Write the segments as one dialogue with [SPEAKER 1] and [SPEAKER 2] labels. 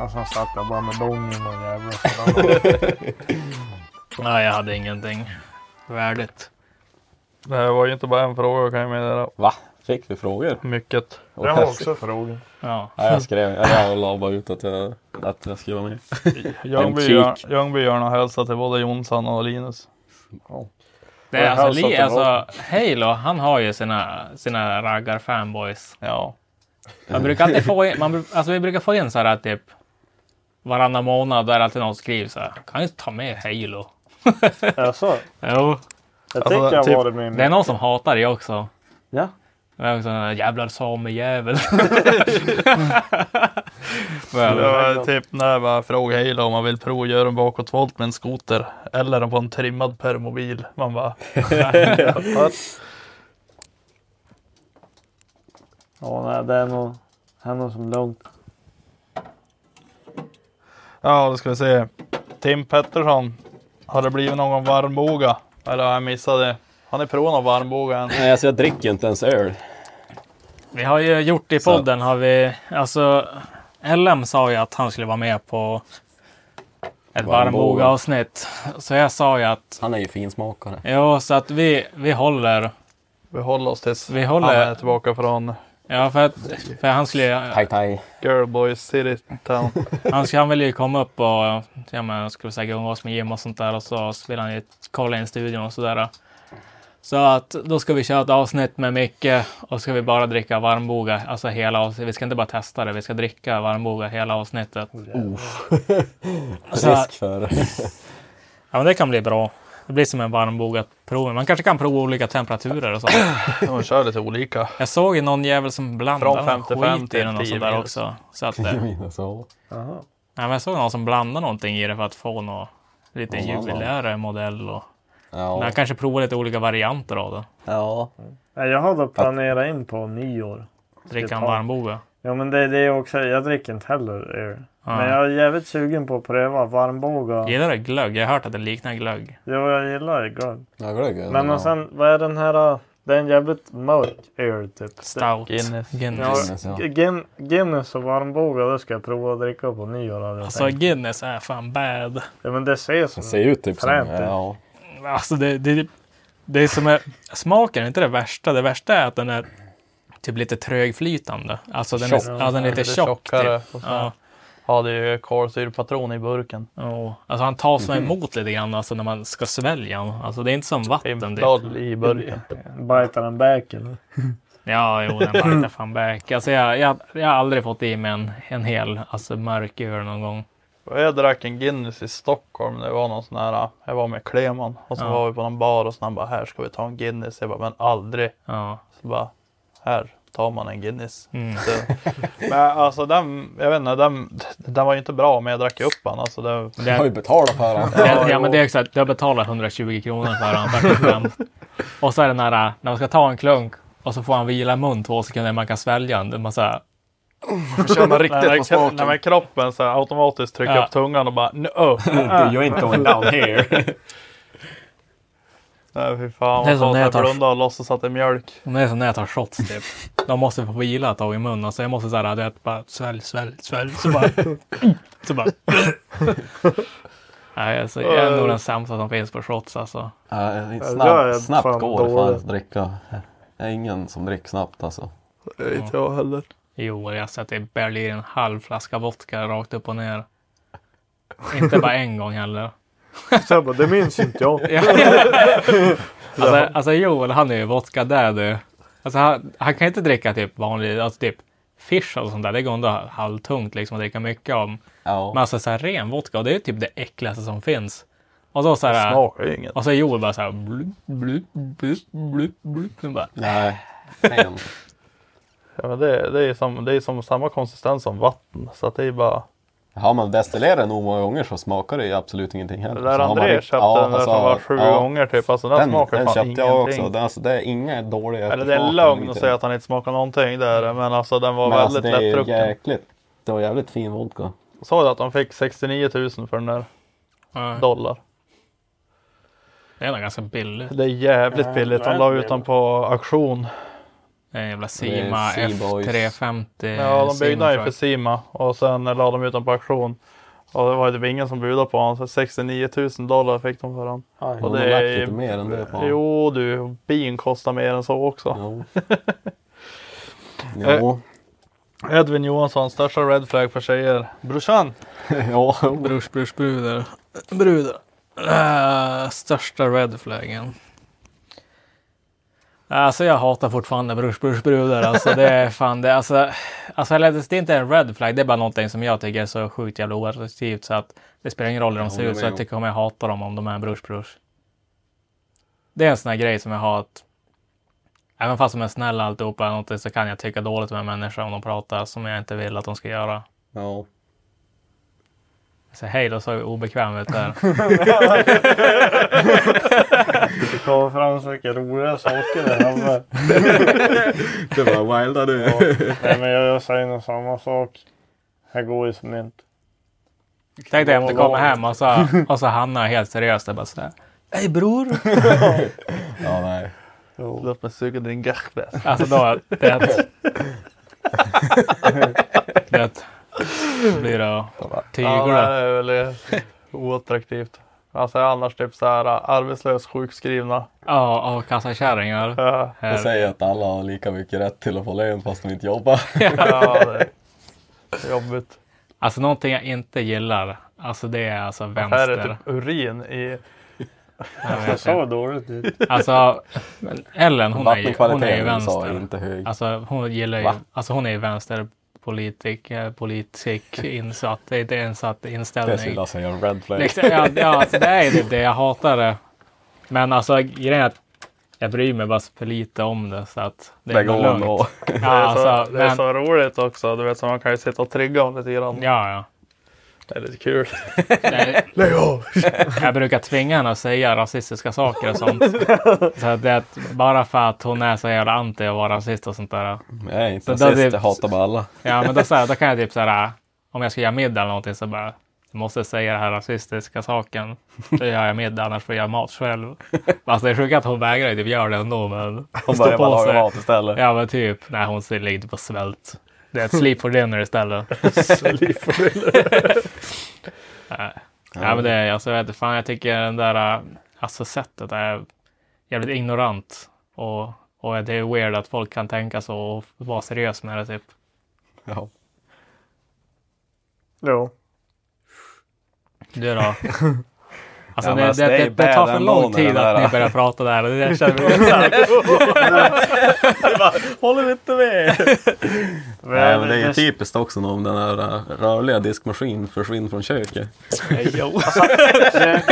[SPEAKER 1] Alltså,
[SPEAKER 2] Och sen satt jag bara med dongen och jävla
[SPEAKER 3] Nej, jag hade ingenting värdigt.
[SPEAKER 2] Det var ju inte bara en fråga kan jag meddela.
[SPEAKER 4] Va? Fick vi frågor?
[SPEAKER 2] Mycket.
[SPEAKER 4] Och
[SPEAKER 2] Jag har
[SPEAKER 4] jag-
[SPEAKER 2] också frågor.
[SPEAKER 3] Ja.
[SPEAKER 4] Ja, jag skrev, eller jag la bara ut att jag, att jag skrev med.
[SPEAKER 2] Ljungby
[SPEAKER 4] En
[SPEAKER 2] gör-
[SPEAKER 4] kik.
[SPEAKER 2] Ljungby gör och hälsa till både Jonsson och Linus.
[SPEAKER 3] Det är
[SPEAKER 2] Jag har
[SPEAKER 3] alltså, Li,
[SPEAKER 2] satt emot.
[SPEAKER 3] alltså, Halo, han har ju sina, sina raggar-fanboys.
[SPEAKER 2] Ja.
[SPEAKER 3] Man brukar alltid få in, man, bru- alltså, vi brukar få in så här typ varannan månad där alltid någon skriver så här. Kan ju ta med Halo.
[SPEAKER 2] Jaså?
[SPEAKER 3] Jo.
[SPEAKER 2] Jag Alltså, tycker jag typ- var det min...
[SPEAKER 3] Det är någon som hatar det också.
[SPEAKER 2] Ja.
[SPEAKER 3] Det är också en sån här jävlar samejävel.
[SPEAKER 2] Det
[SPEAKER 3] Men,
[SPEAKER 2] var typ när jag bara frågade Halo om man vill provgöra en bakåtvolt med en skoter. Eller på en trimmad permobil. Man bara... Ja, nej, det är nog... Det är nog som lugnt. Ja, då ska vi se. Tim Pettersson. Har det blivit någon varmboga? Eller har jag missat det? Har ni provat någon varmboga än?
[SPEAKER 4] Nej, alltså jag dricker ju inte ens öl.
[SPEAKER 3] vi har ju gjort i
[SPEAKER 4] Så.
[SPEAKER 3] podden har vi, alltså LM sa ju att han skulle vara med på ett
[SPEAKER 4] Varmboga.
[SPEAKER 3] varmboga avsnitt. Så jag sa ju att,
[SPEAKER 4] Han är ju finsmakare.
[SPEAKER 3] ja så att vi, vi håller,
[SPEAKER 2] Vi håller oss tills
[SPEAKER 3] Vi håller-
[SPEAKER 2] han är tillbaka från
[SPEAKER 3] ja för att, för han skulle
[SPEAKER 4] Hej, hej.
[SPEAKER 2] Girlboys City Town.
[SPEAKER 3] Han, ska, han ville ju komma upp och ja, men, jag skulle säga umgås med Jim och sånt där och så vill han ju kolla in studion och sådär. Så att då ska vi köra ett avsnitt med Micke och ska vi bara dricka varmboga, alltså hela avsnittet. Vi ska inte bara testa det, vi ska dricka varmboga hela avsnittet.
[SPEAKER 2] Oh,
[SPEAKER 3] Så-
[SPEAKER 4] Risk för...
[SPEAKER 3] Ja, men det kan bli bra. Det blir som en varmboga prov. Man kanske kan prova olika temperaturer och så.
[SPEAKER 2] De kör lite olika.
[SPEAKER 3] Jag såg ju någon jävel som blandade
[SPEAKER 2] Från
[SPEAKER 3] någon
[SPEAKER 2] 55
[SPEAKER 3] skit i
[SPEAKER 2] till
[SPEAKER 3] den och
[SPEAKER 2] 10
[SPEAKER 3] sådär
[SPEAKER 2] minus.
[SPEAKER 3] också. Så att, eh, nej,
[SPEAKER 4] Mina så.
[SPEAKER 3] men jag såg någon som blandade någonting i det för att få något lite
[SPEAKER 4] Ja, vad bra.
[SPEAKER 3] jubilärare modell och Men
[SPEAKER 4] Ja.
[SPEAKER 3] han kanske provar lite olika varianter av den.
[SPEAKER 4] ja.
[SPEAKER 1] Nej, Jag hade planerat in på nyår.
[SPEAKER 3] Dricka en
[SPEAKER 1] tar-
[SPEAKER 3] varmboga.
[SPEAKER 1] Ja men det, det är också, jag dricker inte heller öl.
[SPEAKER 3] Ja.
[SPEAKER 1] Men jag är jävligt sugen på att pröva varmbåga.
[SPEAKER 3] Gillar du glögg? Jag har hört att det liknar glögg.
[SPEAKER 1] Ja, jag gillar det glögg.
[SPEAKER 4] Jag glögg är det,
[SPEAKER 1] Men
[SPEAKER 4] ja.
[SPEAKER 1] och sen, vad är den här? äh, Det är en jävligt mörk öl typ.
[SPEAKER 3] Stout.
[SPEAKER 2] Guinness.
[SPEAKER 3] Guinness.
[SPEAKER 4] Guinness, ja.
[SPEAKER 1] Det- Gin, Guinness och varmbåga, det ska jag prova att dricka på nyår hade jag
[SPEAKER 3] Alltså
[SPEAKER 1] tänkt.
[SPEAKER 3] Guinness är fan bad.
[SPEAKER 1] Ja men det ses
[SPEAKER 4] Det
[SPEAKER 1] som...
[SPEAKER 4] ser ut typ som...
[SPEAKER 1] Fränt ut.
[SPEAKER 4] Ja.
[SPEAKER 3] Alltså det, det, det är som är... Smaken är inte det värsta. Det värsta är att den är typ lite trögflytande. Alltså den
[SPEAKER 4] Tjock.
[SPEAKER 3] är, ja, den är lite
[SPEAKER 2] Lite
[SPEAKER 3] tjock.
[SPEAKER 2] tjockare.
[SPEAKER 3] Typ.
[SPEAKER 2] Och sen
[SPEAKER 3] Ja.
[SPEAKER 2] har det ju kolsyrepatron i burken.
[SPEAKER 3] ja. Alltså han tar sig emot lite grann alltså, när man ska svälja honom. Alltså det är inte som vatten. Typ.
[SPEAKER 2] Impdal i burken.
[SPEAKER 1] Biter den back eller?
[SPEAKER 3] Ja, jo, den biter fan back. Alltså jag, jag, jag har aldrig fått i mig en, en hel alltså, mörk öl någon gång.
[SPEAKER 2] Och Jag drack en Guinness i Stockholm. Det var någon sån här. Jag var med Kleman och så
[SPEAKER 3] Ja.
[SPEAKER 2] var vi på någon bar och så han bara här ska vi ta en Guinness. Jag bara men aldrig.
[SPEAKER 3] Ja.
[SPEAKER 2] Så bara här tar man en Guinness.
[SPEAKER 3] Mm.
[SPEAKER 2] Så, men alltså den, jag vet inte, den, den var ju inte bra men jag drack ju upp den. Alltså det,
[SPEAKER 3] Det,
[SPEAKER 4] Jag har ju
[SPEAKER 3] det,
[SPEAKER 4] betalat för den.
[SPEAKER 3] ja, men det är exakt. Jag betalar 120 kronor för den. 45. Och så är den här när man ska ta en klunk och så får han vila i mun två sekunder. Man kan svälja den. Det är Man så här,
[SPEAKER 2] känner riktigt på smaken. När kroppen så här, automatiskt trycker
[SPEAKER 3] Ja.
[SPEAKER 2] upp tungan och bara no.
[SPEAKER 4] You ain't going down here.
[SPEAKER 2] Nej fy fan.
[SPEAKER 3] Det är
[SPEAKER 2] Man
[SPEAKER 3] som när jag tar-
[SPEAKER 2] tar blunda och låtsas att det är mjölk.
[SPEAKER 3] Men det är som när jag tar shots typ. De måste få vila ett tag i munnen. Alltså jag måste såhär, du vet, bara svälj, svälj, svälj. Så bara... så bara... Nej, alltså, jag är nog den sämsta som finns på shots alltså.
[SPEAKER 4] Ja,
[SPEAKER 2] jag är
[SPEAKER 4] snabb, snabbt
[SPEAKER 2] fan
[SPEAKER 4] går det fan
[SPEAKER 2] dålig.
[SPEAKER 4] att dricka. Det är ingen som dricker snabbt alltså.
[SPEAKER 2] Det är inte jag heller.
[SPEAKER 3] Jo, jag sätter i Berlin en halv flaska vodka rakt upp och ner. Inte bara en gång heller.
[SPEAKER 2] Så jag bara, det minns inte jag.
[SPEAKER 3] Alltså, alltså Joel, han är ju vodka där du. Alltså han, han kan inte dricka typ vanlig, alltså typ fish och sånt där. Det går ändå halvtungt liksom att dricka mycket om.
[SPEAKER 4] Ja.
[SPEAKER 3] Men alltså så här ren vodka, och det är typ det äckligaste som finns. Och så så här,
[SPEAKER 1] Smakar ju inget.
[SPEAKER 3] och så Joel bara så här blup, blup, blup, blup, blup. Den bara,
[SPEAKER 4] Nej. Fan.
[SPEAKER 1] Ja, men det, det är ju som, det är som samma konsistens som vatten. Så att det är bara...
[SPEAKER 4] Har man destillerat nog många gånger så smakar det ju absolut ingenting heller.
[SPEAKER 2] Det
[SPEAKER 4] Så har
[SPEAKER 2] där
[SPEAKER 4] man
[SPEAKER 2] André
[SPEAKER 4] rikt-
[SPEAKER 2] köpte
[SPEAKER 4] ja,
[SPEAKER 2] den där
[SPEAKER 4] alltså,
[SPEAKER 2] som var sju
[SPEAKER 4] ja,
[SPEAKER 2] gånger typ. Alltså den,
[SPEAKER 4] Den,
[SPEAKER 2] smakar
[SPEAKER 4] den
[SPEAKER 2] fan
[SPEAKER 4] köpte
[SPEAKER 2] ingenting.
[SPEAKER 4] jag också. Den, alltså, det är inga dåliga
[SPEAKER 2] Eller det är
[SPEAKER 4] eftersmaker,
[SPEAKER 2] lögn att
[SPEAKER 4] ingenting.
[SPEAKER 2] säga att han inte smakar någonting
[SPEAKER 1] Mm.
[SPEAKER 2] där. Men alltså den var
[SPEAKER 4] Men alltså,
[SPEAKER 2] väldigt
[SPEAKER 4] det är ju
[SPEAKER 2] lättdrucken.
[SPEAKER 4] jäkligt. Det var jävligt fin vodka.
[SPEAKER 2] Sa du att de fick 69 000 för den där
[SPEAKER 3] ja,
[SPEAKER 2] dollar?
[SPEAKER 3] det är nog ganska billigt.
[SPEAKER 2] Det är jävligt billigt. De la ut den på auktion.
[SPEAKER 3] Det är en jävla
[SPEAKER 4] är
[SPEAKER 3] Sima
[SPEAKER 4] Seaboys.
[SPEAKER 3] F350.
[SPEAKER 2] Ja, de byggde den ju
[SPEAKER 3] Sima,
[SPEAKER 2] för Sima och sen la de ut den på auktion. Och det var ju typ ingen som budade på honom. Så 69 000 dollar fick de för honom.
[SPEAKER 4] Och det är lite mer än det på.
[SPEAKER 2] Jo du, bin kostar mer än så också.
[SPEAKER 4] Jo. jo.
[SPEAKER 2] Edvin Johansson, största red flag för tjejer. Brorsan! Eh.
[SPEAKER 4] Ja, jo.
[SPEAKER 3] Brors, brors, bruder. Bruder. Äh, största red flaggen. Alltså jag hatar fortfarande brors, brors, bruder. Alltså det är fan det. Alltså, alltså eller det är inte en red flag. Det är bara någonting som jag tycker är så sjukt jävla oattraktivt så att det spelar ingen roll hur de
[SPEAKER 4] Jag
[SPEAKER 3] ser
[SPEAKER 4] håller
[SPEAKER 3] ut. Så
[SPEAKER 4] med
[SPEAKER 3] jag
[SPEAKER 4] om.
[SPEAKER 3] tycker om jag hatar dem om de är en brors, brors. Det är en sån här grej som jag har att även fast de är snälla alltihopa eller någonting så kan jag tycka dåligt om en människa om de pratar som jag inte vill att de ska göra.
[SPEAKER 4] Ja.
[SPEAKER 3] Så hej, då såg jag obekväm ut där.
[SPEAKER 1] Det kommer fram så mycket roliga saker där framme.
[SPEAKER 4] Det var wilda du.
[SPEAKER 1] Nej men jag, jag säger nog samma sak. Jag går ju som inte.
[SPEAKER 3] Tänk dig om du kommer hem och så, och så Hanna är helt seriös där bara sådär. Hej bror!
[SPEAKER 4] Ja, nej.
[SPEAKER 2] Låt mig suga din gachbäs.
[SPEAKER 3] Alltså då, det... Det blir det att
[SPEAKER 2] Ja, det
[SPEAKER 3] tygla.
[SPEAKER 2] är väl oattraktivt. Alltså annars typ så här arbetslös, sjukskrivna. Äh,
[SPEAKER 3] Ja, och kassakärringar.
[SPEAKER 2] Ja,
[SPEAKER 4] Jag
[SPEAKER 3] Här.
[SPEAKER 4] säger att alla har lika mycket rätt till att få lön fast de inte jobbar.
[SPEAKER 2] ja, det är jobbigt.
[SPEAKER 3] Alltså någonting jag inte gillar, alltså det är alltså
[SPEAKER 2] Här är
[SPEAKER 3] vänster.
[SPEAKER 2] typ urin i...
[SPEAKER 3] Jag vet
[SPEAKER 1] Det
[SPEAKER 3] inte.
[SPEAKER 1] såg dåligt ut.
[SPEAKER 3] Alltså, men Ellen hon är ju, hon är ju
[SPEAKER 4] Vattenkvaliteten sa jag
[SPEAKER 3] vänster.
[SPEAKER 4] inte hög.
[SPEAKER 3] Alltså hon gillar ju,
[SPEAKER 4] Va?
[SPEAKER 3] alltså hon är ju vänsterpolitiker, politik insatt, det är inte insatt
[SPEAKER 4] Det skulle
[SPEAKER 3] inställning.
[SPEAKER 4] jag säga en red flag.
[SPEAKER 3] Liksom, ja, ja, alltså, det är ju det jag hatar det. Men alltså grejen är att jag bryr mig bara för lite om det så att det är
[SPEAKER 4] Det går
[SPEAKER 3] ändå lugnt.
[SPEAKER 4] ändå.
[SPEAKER 3] Ja,
[SPEAKER 2] Det är, så,
[SPEAKER 3] alltså,
[SPEAKER 2] det är
[SPEAKER 3] men,
[SPEAKER 2] så roligt också. Du vet, så man kan ju sitta och trigga om lite grann.
[SPEAKER 3] ja, ja.
[SPEAKER 2] Det är lite kul.
[SPEAKER 3] Det- Jag brukar tvinga henne att säga rasistiska saker och sånt. Så att det, är att bara för att hon är så jävla anti att vara rasist och sånt där.
[SPEAKER 4] Jag är inte
[SPEAKER 3] Så där
[SPEAKER 4] rasist,
[SPEAKER 3] det-
[SPEAKER 4] jag hatar bara alla.
[SPEAKER 3] Ja, men då, så här, då kan jag typ så här, om jag ska göra middag eller någonting så bara, jag måste säga den här rasistiska saken. Då gör jag middag, annars får jag göra mat själv. Alltså det är sjukt att hon vägrar ju typ göra det ändå, men hon
[SPEAKER 4] Och
[SPEAKER 3] står
[SPEAKER 4] börjar bara
[SPEAKER 3] på
[SPEAKER 4] laga
[SPEAKER 3] sig.
[SPEAKER 4] mat istället.
[SPEAKER 3] Ja, men typ, nej hon ser- ligger typ på svält. Det är ett sleep for dinner istället. nej. Ja, men det är, alltså, jag vet inte, fan, jag tycker den där, äh, alltså sättet är jävligt ignorant. Och, och det är weird att folk kan tänka så och vara seriös med det typ.
[SPEAKER 4] Ja.
[SPEAKER 1] Jo.
[SPEAKER 3] Du då? Alltså
[SPEAKER 4] Ja, men
[SPEAKER 3] det,
[SPEAKER 4] alltså,
[SPEAKER 3] det,
[SPEAKER 4] det är
[SPEAKER 3] det,
[SPEAKER 4] ju
[SPEAKER 3] det tar
[SPEAKER 4] bad
[SPEAKER 3] för
[SPEAKER 4] ändå
[SPEAKER 3] lång
[SPEAKER 4] med
[SPEAKER 3] tid
[SPEAKER 4] den där,
[SPEAKER 3] att ni
[SPEAKER 4] då.
[SPEAKER 3] börjar prata där. Det jag känner mig såhär.
[SPEAKER 1] Håller inte med!
[SPEAKER 4] Nej, men det är ju typiskt också om den här äh, rörliga diskmaskinen försvinner från köket.
[SPEAKER 1] det,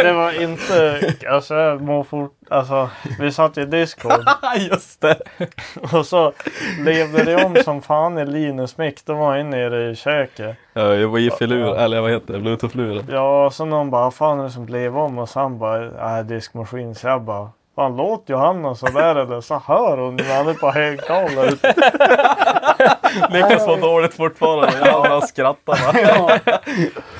[SPEAKER 1] det var inte... Alltså, jag mår fort, alltså, vi satt i Discord
[SPEAKER 4] Just det!
[SPEAKER 1] och så levde det om som fan i Linus mick. De var inne nere i köket.
[SPEAKER 4] Ja, jag var wifi-lur, eller vad heter det, bluetooth-lur.
[SPEAKER 1] Ja, så någon bara, fan är det som blev om? Och sen bara, äh, diskmaskin. Så jag bara, fan låt Johanna så där eller så hör hon när han är på högtalare.
[SPEAKER 4] Lyckas så dåligt fortfarande. Jag bara skrattar bara.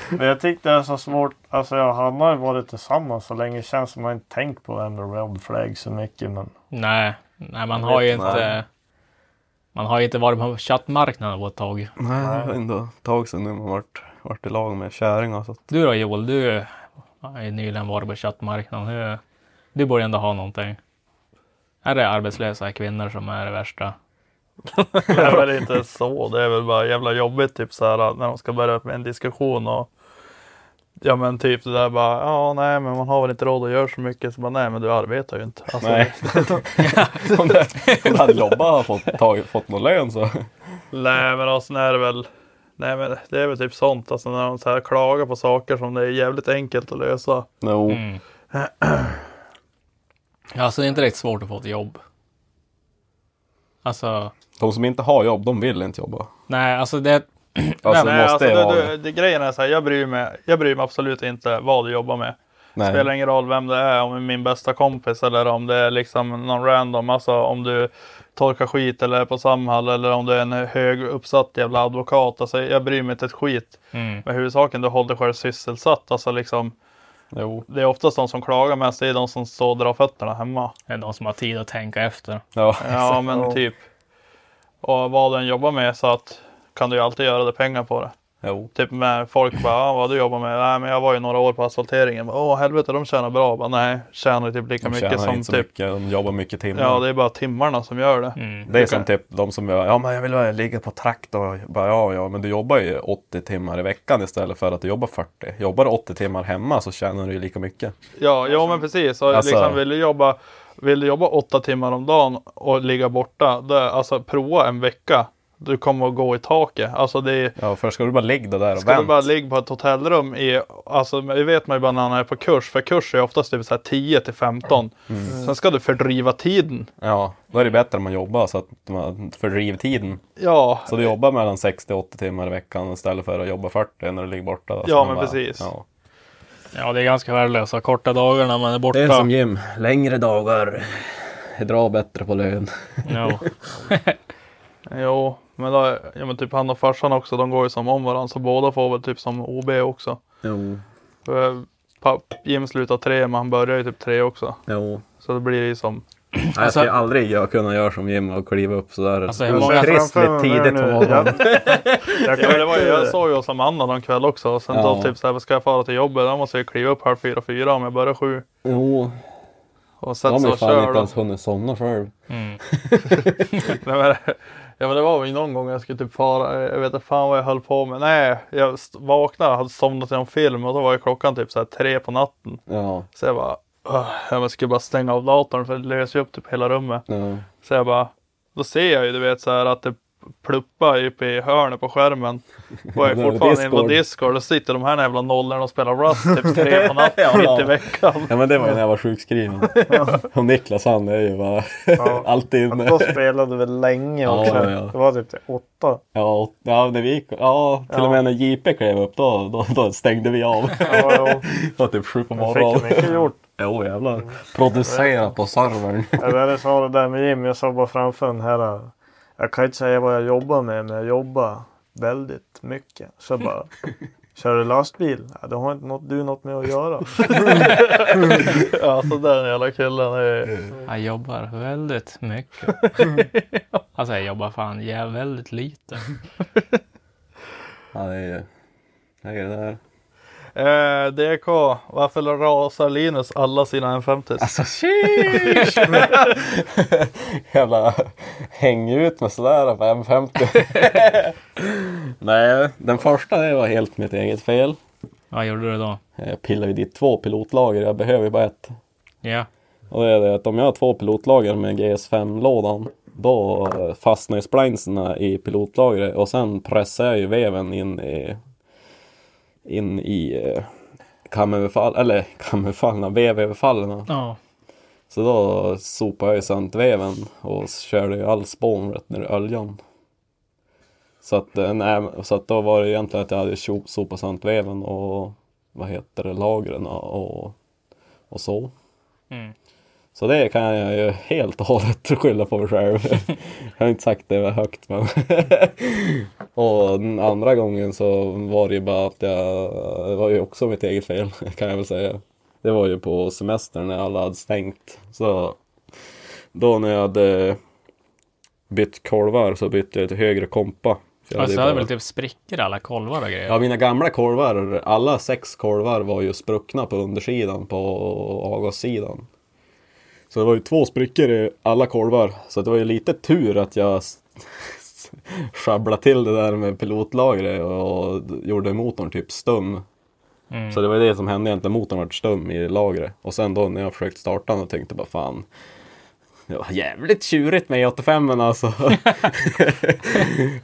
[SPEAKER 5] Men jag tyckte det är så svårt. Alltså jag och Hanna har ju varit tillsammans så länge. Det känns som man inte tänkt på det här med red flag så mycket. Men
[SPEAKER 3] Nej, nej man har ju inte... Man har ju inte varit på chattmarknaden på ett tag.
[SPEAKER 4] Nej, det var ändå ett tag sedan nu man varit, varit i lag med kärringar. Så att,
[SPEAKER 3] Du då Joel, du har ju nyligen varit på chattmarknaden. Du, du borde ändå ha någonting. Är det arbetslösa kvinnor som är det värsta?
[SPEAKER 2] Det är väl inte så. Det är väl bara jävla jobbigt typ så här när de ska börja med en diskussion och Ja men typ det där bara, ja nej men man har väl inte råd att göra så mycket. Så bara, nej men du arbetar ju inte. Alltså,
[SPEAKER 4] nej. om, det, om det hade jobbat och fått, tag, fått någon lön så.
[SPEAKER 2] Nej men och sen är det väl Nej men det är väl typ sånt alltså när de så här klagar på saker som det är jävligt enkelt att lösa.
[SPEAKER 4] No.
[SPEAKER 2] Mm.
[SPEAKER 3] Alltså det är inte riktigt svårt att få ett jobb. Alltså,
[SPEAKER 4] De som inte har jobb, de vill inte jobba.
[SPEAKER 3] nej alltså det...
[SPEAKER 4] Alltså,
[SPEAKER 2] Nej
[SPEAKER 4] måste
[SPEAKER 2] alltså
[SPEAKER 4] det vara
[SPEAKER 2] det,
[SPEAKER 4] det.
[SPEAKER 2] det, det, grejen är så här, jag bryr mig, jag bryr mig absolut inte vad du jobbar med.
[SPEAKER 4] Nej.
[SPEAKER 2] spelar ingen roll vem det är, om det är min bästa kompis eller om det är liksom någon random. Alltså om du torkar skit eller är på Samhall eller om du är en hög uppsatt jävla advokat. Alltså jag bryr mig inte ett skit.
[SPEAKER 3] Mm.
[SPEAKER 2] Men huvudsaken du håller dig själv sysselsatt. Alltså liksom,
[SPEAKER 4] Jo.
[SPEAKER 2] det är oftast de som klagar mest, det är de som står och drar fötterna hemma.
[SPEAKER 3] Det är de som har tid att tänka efter.
[SPEAKER 4] Ja.
[SPEAKER 2] Ja men typ. Och vad den jobbar med så att kan du ju alltid göra det pengar på det.
[SPEAKER 4] Jo.
[SPEAKER 2] Typ med folk bara, ah, vad du jobbar med? Nej men jag var ju några år på asfalteringen. Bara, Åh helvete de tjänar bra. Bara, Nej, tjänar ju typ lika
[SPEAKER 4] De
[SPEAKER 2] mycket
[SPEAKER 4] tjänar
[SPEAKER 2] som
[SPEAKER 4] inte så
[SPEAKER 2] typ
[SPEAKER 4] mycket, Mm. de jobbar mycket timmar.
[SPEAKER 2] Ja, det är bara timmarna som gör Mm. det.
[SPEAKER 4] Det är som typ de som gör, ja men jag vill väl ligga på trakt och bara ja ja men du jobbar ju 80 timmar i veckan istället för att du jobbar 40. Jobbar du 80 timmar hemma så tjänar du ju lika mycket.
[SPEAKER 2] Ja, ja men precis. Och
[SPEAKER 4] Alltså-
[SPEAKER 2] Liksom, vill, du jobba, vill du jobba åtta timmar om dagen och ligga borta, det, alltså prova en vecka. Du kommer att gå i taket. Alltså det är,
[SPEAKER 4] Ja först ska du bara lägga dig där och
[SPEAKER 2] ska du
[SPEAKER 4] vänta.
[SPEAKER 2] bara ligga på ett hotellrum i, alltså det vet man ju bara när man är på kurs, för kurs är oftast typ så här 10 till 15.
[SPEAKER 4] Mm.
[SPEAKER 2] Sen ska du fördriva tiden.
[SPEAKER 4] Ja, då är det bättre om man jobbar så att man fördriver tiden.
[SPEAKER 2] Ja,
[SPEAKER 4] Så du jobbar mellan 60 och 80 timmar i veckan istället för att jobba 40 när du ligger borta. Alltså,
[SPEAKER 2] Ja,
[SPEAKER 4] man
[SPEAKER 2] men precis.
[SPEAKER 4] Ja.
[SPEAKER 3] Ja, det är ganska värdelöst. att ha Korta dagar när man är borta.
[SPEAKER 4] Jim, längre dagar. Dra bättre på lön.
[SPEAKER 3] Ja.
[SPEAKER 2] jo. Men, då, ja, men typ han och farsan också, de går ju som om varandra. Så båda får väl typ som OB också.
[SPEAKER 4] Jo,
[SPEAKER 2] För, eh, Papp, Jim slutar tre, men han börjar ju typ tre också.
[SPEAKER 4] jo.
[SPEAKER 2] Så det blir ju som...
[SPEAKER 4] jag
[SPEAKER 3] Alltså-
[SPEAKER 4] skulle aldrig jag kunna göra som Jim och kliva upp sådär.
[SPEAKER 3] Alltså, hur många-
[SPEAKER 4] Kristligt tidigt på morgonen.
[SPEAKER 2] Ja, men det var, ju- jag såg ju hos Amanda någon kväll också. Och sen
[SPEAKER 4] Ja.
[SPEAKER 2] då typ så här, ska jag fara till jobbet? Då måste jag kliva upp halv fyra, fyra om jag börjar sju.
[SPEAKER 4] Jo,
[SPEAKER 2] Och
[SPEAKER 4] de
[SPEAKER 2] sen
[SPEAKER 4] har
[SPEAKER 2] så
[SPEAKER 4] ju fan
[SPEAKER 2] kör
[SPEAKER 4] inte
[SPEAKER 2] de.
[SPEAKER 4] ens hunnit somna själv.
[SPEAKER 2] Nej, men, ja men det var väl någon gång jag skulle typ fara. Jag vet inte fan vad jag höll på med. Nej, jag st- vaknade hade somnat till en film och då var ju klockan typ så här tre på natten.
[SPEAKER 4] Ja,
[SPEAKER 2] Så jag bara, "Ugh, jag bara, skulle bara stänga av datorn för det löser ju upp typ hela rummet.
[SPEAKER 4] ja.
[SPEAKER 2] Så jag bara, då ser jag ju du vet så här att det pluppar uppe i hörnet på skärmen. Och jag
[SPEAKER 4] Det
[SPEAKER 2] är
[SPEAKER 4] är
[SPEAKER 2] fortfarande inne på
[SPEAKER 4] Discord.
[SPEAKER 2] Discord och sitter de här jävla nollorna och spelar Rust typ tre på natten mitt i veckan.
[SPEAKER 4] Ja men det var ju när jag var sjukskriven. Och Niklas han är ju bara alltid inne.
[SPEAKER 5] då spelade vi länge
[SPEAKER 4] Ja,
[SPEAKER 5] också.
[SPEAKER 4] ja, ja.
[SPEAKER 5] Det var typ till åtta.
[SPEAKER 4] Ja, och- ja, när vi gick, ja till och med när JP klev upp då, då, då stängde vi av.
[SPEAKER 5] Ja, jo.
[SPEAKER 4] Det var typ sju på
[SPEAKER 5] Jag fick
[SPEAKER 4] morgonen.
[SPEAKER 5] mycket gjort.
[SPEAKER 4] Jo jävlar. Producera på servern.
[SPEAKER 5] Eller det sa det där med Jim. Jag sa bara framför den här. Jag kan inte säga vad jag jobbar med men jag jobbar väldigt mycket. Så jag bara. Kör du lastbil? Ja, det har inte något, du något med att göra.
[SPEAKER 2] Alltså den jävla killen är...
[SPEAKER 3] Jag jobbar väldigt mycket. Alltså jag jobbar fan jä- väldigt lite.
[SPEAKER 4] Ja, det är ju... Det är det där.
[SPEAKER 2] Eh, DK, varför rasar Linus alla sina M50?
[SPEAKER 4] Alltså sheesh! Jävla häng ut med sådär på M50. Nej, den första det var helt mitt eget fel.
[SPEAKER 3] Vad gjorde du då?
[SPEAKER 4] Jag pillade ju dit två pilotlager, jag behöver ju bara ett.
[SPEAKER 3] Ja,
[SPEAKER 4] Och det är det att om jag har två pilotlager med GS5-lådan då eh, fastnar ju splinesarna i pilotlagret och sen pressar jag ju veven in i, in i eh, kamöverfall, eller kamöverfallen, vevöverfallen.
[SPEAKER 3] ja.
[SPEAKER 4] Så då sopade jag ju sönt veven och körde ju all spån rätt ner i oljan. Så att, eh, nej, så att då var det egentligen att jag hade tjo- sopat sönt veven och vad heter det, lagren och, och så.
[SPEAKER 3] Mm.
[SPEAKER 4] Så det kan jag ju helt och hållet skylla på mig själv. jag har inte sagt det högt men. och den andra gången så var det ju bara att jag, det var ju också mitt eget fel kan jag väl säga. Det var ju på semestern när alla hade stängt. Så då när jag hade bytt kolvar så bytte jag till högre kompa. För jag
[SPEAKER 3] Och så
[SPEAKER 4] ju
[SPEAKER 3] hade
[SPEAKER 4] bara-
[SPEAKER 3] väl typ sprickor alla kolvar och grejer.
[SPEAKER 4] Ja, mina gamla kolvar, alla sex kolvar var ju spruckna på undersidan på avgassidan. Så det var ju två sprickor i alla kolvar. Så det var ju lite tur att jag s- s- sjabblade till det där med pilotlagret och gjorde motorn typ stum. Så det var ju det som hände egentligen, motorn vart stum i lagret. Och sen då när jag försökte starta den och tänkte jag bara fan. Det var jävligt tjurigt med 85 alltså.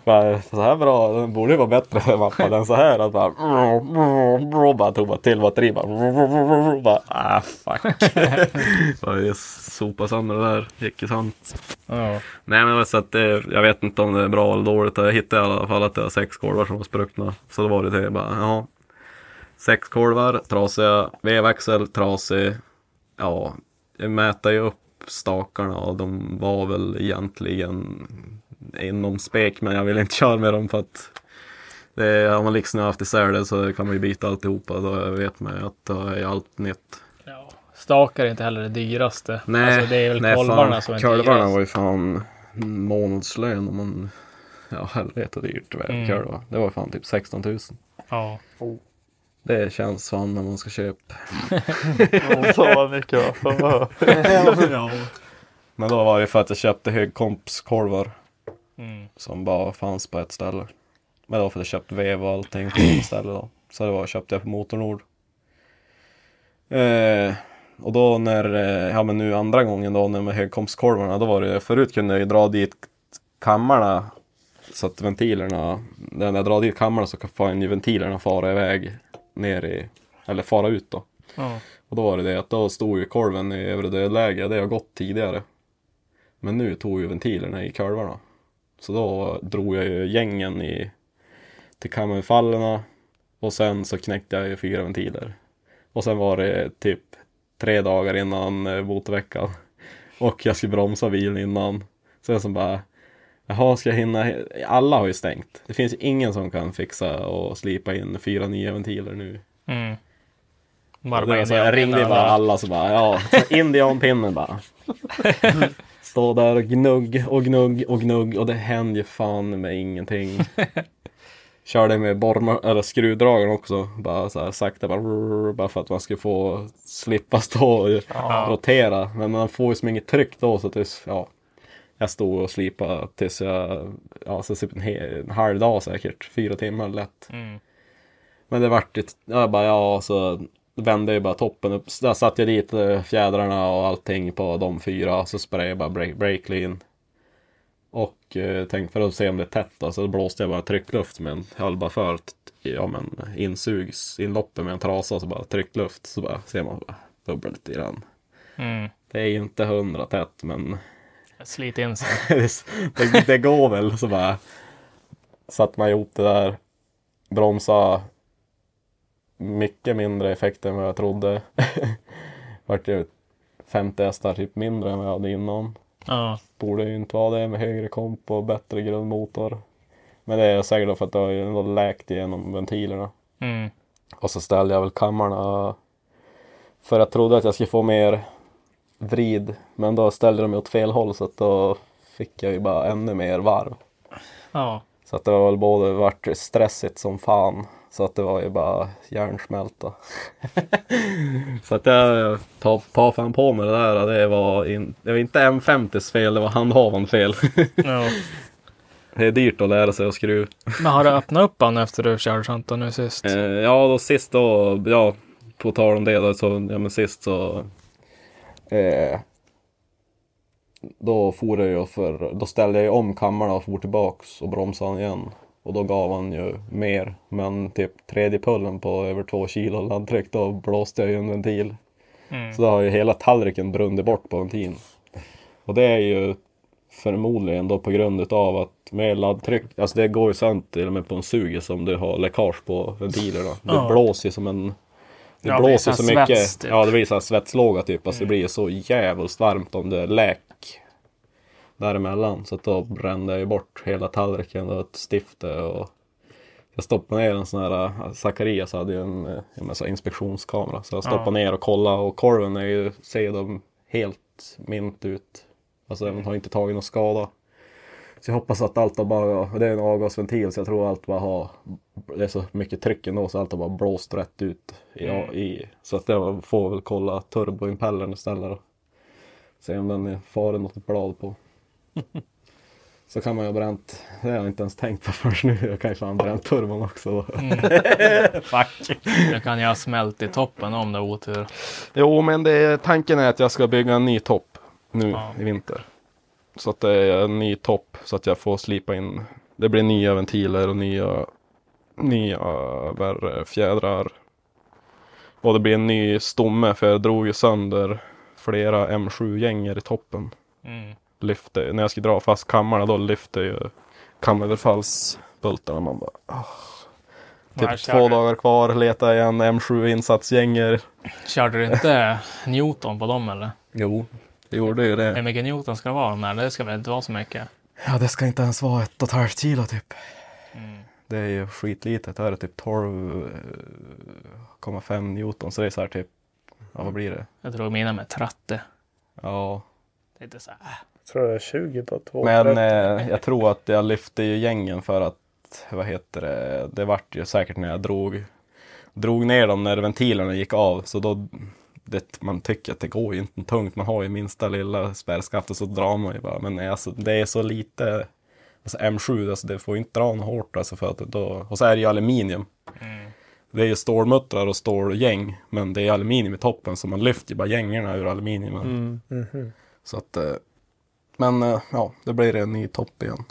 [SPEAKER 4] bara, så här bra, den borde ju vara bättre mappad än så här. Att bara, bara tog bara till batteri bara. bara ah fuck. bara, jag sopade sönder det där, gick i sand.
[SPEAKER 3] Ja.
[SPEAKER 4] Nej men det var så att det, jag vet inte om det är bra eller dåligt. Jag hittade i alla fall att det var sex kolvar som var spruckna. Så då var det det, jag bara ja. Sex kolvar, trasiga, vevaxel, trasig. Ja, jag mäter ju upp stakarna och de var väl egentligen inom spek men jag ville inte köra med dem för att det, har man liksom haft isär det så kan man ju byta alltihopa. Då vet man ju att då är allt nytt.
[SPEAKER 3] Ja. Stakar är inte heller det dyraste.
[SPEAKER 4] Nej,
[SPEAKER 3] alltså, det är väl
[SPEAKER 4] nej
[SPEAKER 3] kolvarna
[SPEAKER 4] fan,
[SPEAKER 3] som är
[SPEAKER 4] kolvarna
[SPEAKER 3] dyrast.
[SPEAKER 4] var ju fan månadslön om man... Ja helvete dyrt det var
[SPEAKER 3] Mm.
[SPEAKER 4] kolvar. Det var fan typ 16 000.
[SPEAKER 3] Ja.
[SPEAKER 4] Det känns fan när man ska köpa.
[SPEAKER 2] Och så mycket va?
[SPEAKER 4] Men då var det för att jag köpte högkompskorvar
[SPEAKER 3] Mm.
[SPEAKER 4] som bara fanns på ett ställe. Men det var för att jag köpte vev och allting på ett ställe då. Så det var köpte jag på Motornord. Eh, och då när, eh, ja men nu andra gången då när med högkomstkorvarna, då var det förut kunde jag ju dra dit kammarna så att ventilerna, när jag drar dit kammarna så kan ju ventilerna fara iväg ner i, eller fara ut då.
[SPEAKER 3] Ja.
[SPEAKER 4] Och då var det det att då stod ju korven i övre dödläge, det har gått tidigare. Men nu tog ju ventilerna i kurvarna. Så då drog jag ju gängen i, till kammerfallerna och sen så knäckte jag ju fyra ventiler. Och sen var det typ tre dagar innan eh, motorveckan. Och jag skulle bromsa bilen innan. Så jag som bara, jaha ska jag hinna? Alla har ju stängt. Det finns ju ingen som kan fixa och slipa in fyra nya ventiler nu.
[SPEAKER 3] Mm.
[SPEAKER 4] Ja,
[SPEAKER 3] Bara
[SPEAKER 4] det var
[SPEAKER 3] bara
[SPEAKER 4] så jag ringde ju bara alla så bara, ja, så indianpinnen bara. Stå där och gnugg och gnugg och gnugg och det händer ju fan med ingenting. Körde med borma, eller skruvdragaren också, bara så här sakta bara, rrrr, bara för att man skulle få slippa stå och rotera. Men man får ju som inget tryck då så att det, är s- ja. Jag stod och slipade tills jag, ja, så typ en, hel, en halv dag säkert, fyra timmar lätt.
[SPEAKER 3] Mm.
[SPEAKER 4] Men det vart ju, jag bara ja, så vände jag bara toppen upp. Så där satte jag dit eh, fjädrarna och allting på de fyra. Så sprayade jag bara break, break clean. Och eh, tänkte för att se om det är tätt då, så då blåste jag bara tryckluft med en, jag höll bara för ett, ja men insugs, inloppet med en trasa så bara tryckluft. Så bara ser man bara dubbelt i den.
[SPEAKER 3] Mm.
[SPEAKER 4] Det är ju inte hundra tätt men
[SPEAKER 3] Slit in sig.
[SPEAKER 4] det, det, det går väl. Så bara satte man ihop det där. Bromsa mycket mindre effekt än vad jag trodde. Vart ju 50 hästar typ mindre än vad jag hade innan.
[SPEAKER 3] Ja.
[SPEAKER 4] Borde ju inte vara det med högre komp och bättre grundmotor. Men det är säkert då för att det har ju ändå läkt igenom ventilerna.
[SPEAKER 3] Mm.
[SPEAKER 4] Och så ställde jag väl kammarna för jag trodde att jag skulle få mer vrid. Men då ställde de mig åt fel håll så att då fick jag ju bara ännu mer varv.
[SPEAKER 3] Ja.
[SPEAKER 4] Så att det var väl både vart stressigt som fan. Så att det var ju bara hjärnsmälta. så att jag tar ta fan på mig det där. Det var, in, det var inte M50s fel, det var handhavande fel.
[SPEAKER 3] ja.
[SPEAKER 4] det är dyrt att lära sig att skruva.
[SPEAKER 3] Men har du öppnat upp han efter du körde Chantan nu sist?
[SPEAKER 4] Eh, ja, då sist då, ja, på tal om det då, så, ja men sist så... Eh, då for jag ju för, då ställde jag ju om kammaren och for tillbaks och bromsade han igen. Och då gav han ju mer, men typ tredje pullen på över två kilo laddtryck, då blåste jag ju en ventil. Så då har ju hela tallriken brunnit bort på ventilen. Och det är ju förmodligen då på grund utav att med laddtryck, alltså det går ju sönder till och med på en suger som du har läckage på ventilerna. Det
[SPEAKER 3] Ja.
[SPEAKER 4] blåser ju som en Det
[SPEAKER 3] Ja, det
[SPEAKER 4] blåser
[SPEAKER 3] blir
[SPEAKER 4] så
[SPEAKER 3] så här
[SPEAKER 4] mycket.
[SPEAKER 3] svets, typ. Mm.
[SPEAKER 4] Ja, det blir så här svetslåga typ. Alltså det blir så jävligt varmt om det läk däremellan. Så att då brände jag ju bort hela tallriken och ett stifte och jag stoppade ner en sån här, eh, Zacharias hade ju en, eh, en massa inspektionskamera. Så jag stoppade ner och kollade och korven är ju, ser de helt mint ut. Alltså den har inte tagit någon skada. Så jag hoppas att allt har bara, det är en avgasventil så jag tror allt bara har, det är så mycket tryck ändå så allt har bara blåst rätt ut. I, i, så att jag får väl kolla turboimpellern istället då. Se om den är faren något blad på. Så kan man ju ha bränt, det har jag inte ens tänkt på förrän nu, jag kan ju fan bränt turbon också då.
[SPEAKER 3] Fuck. Då kan jag ha smält i toppen om det är otur.
[SPEAKER 4] Jo men det är, tanken är att jag ska bygga en ny topp nu i vinter. Så att det är en ny topp så att jag får slipa in, det blir nya ventiler och nya, nya värre fjädrar. Och det blir en ny stomme för jag drog ju sönder flera M7-gänger i toppen.
[SPEAKER 3] Mm.
[SPEAKER 4] Lyfte, när jag skulle dra fast kammarna då lyfte ju kammeröverfallsbultarna. Man bara "Ah,
[SPEAKER 3] Här
[SPEAKER 4] Typ
[SPEAKER 3] körde-
[SPEAKER 4] två dagar kvar, leta igen M7 insatsgänger.
[SPEAKER 3] Körde du inte Newton på dem eller?
[SPEAKER 4] Jo, det gjorde ju
[SPEAKER 3] Hur
[SPEAKER 4] det.
[SPEAKER 3] mycket Newton ska det vara de där? Det ska väl inte vara så mycket?
[SPEAKER 4] Ja, det ska inte ens vara ett och ett halvt kilo typ.
[SPEAKER 3] Mm.
[SPEAKER 4] Det är ju skitlitet. Det här är typ 12,5 Newton. Så det är så här typ, ja vad blir det?
[SPEAKER 3] Jag tror mina med 30.
[SPEAKER 4] Ja,
[SPEAKER 3] Det är inte så här.
[SPEAKER 1] Jag tror det är 20 på två.
[SPEAKER 4] men eh, jag tror att jag lyfte ju gängen för att, vad heter det, det vart ju säkert när jag drog, drog ner dem när ventilerna gick av. Så då, det, man tycker att det går ju inte tungt, man har ju minsta lilla spärrskaft och så drar man ju bara. Men nej, alltså, det är så lite, alltså M7, alltså, det får ju inte dra något hårt alltså, för att då, och så är det ju aluminium.
[SPEAKER 2] Mm.
[SPEAKER 4] Det är ju stålmuttrar och stålgäng, men det är aluminium i toppen så man lyfter ju bara gängorna ur aluminiumen.
[SPEAKER 3] Mm, mhm.
[SPEAKER 4] Så att, eh, men eh, ja, det blir en ny topp igen.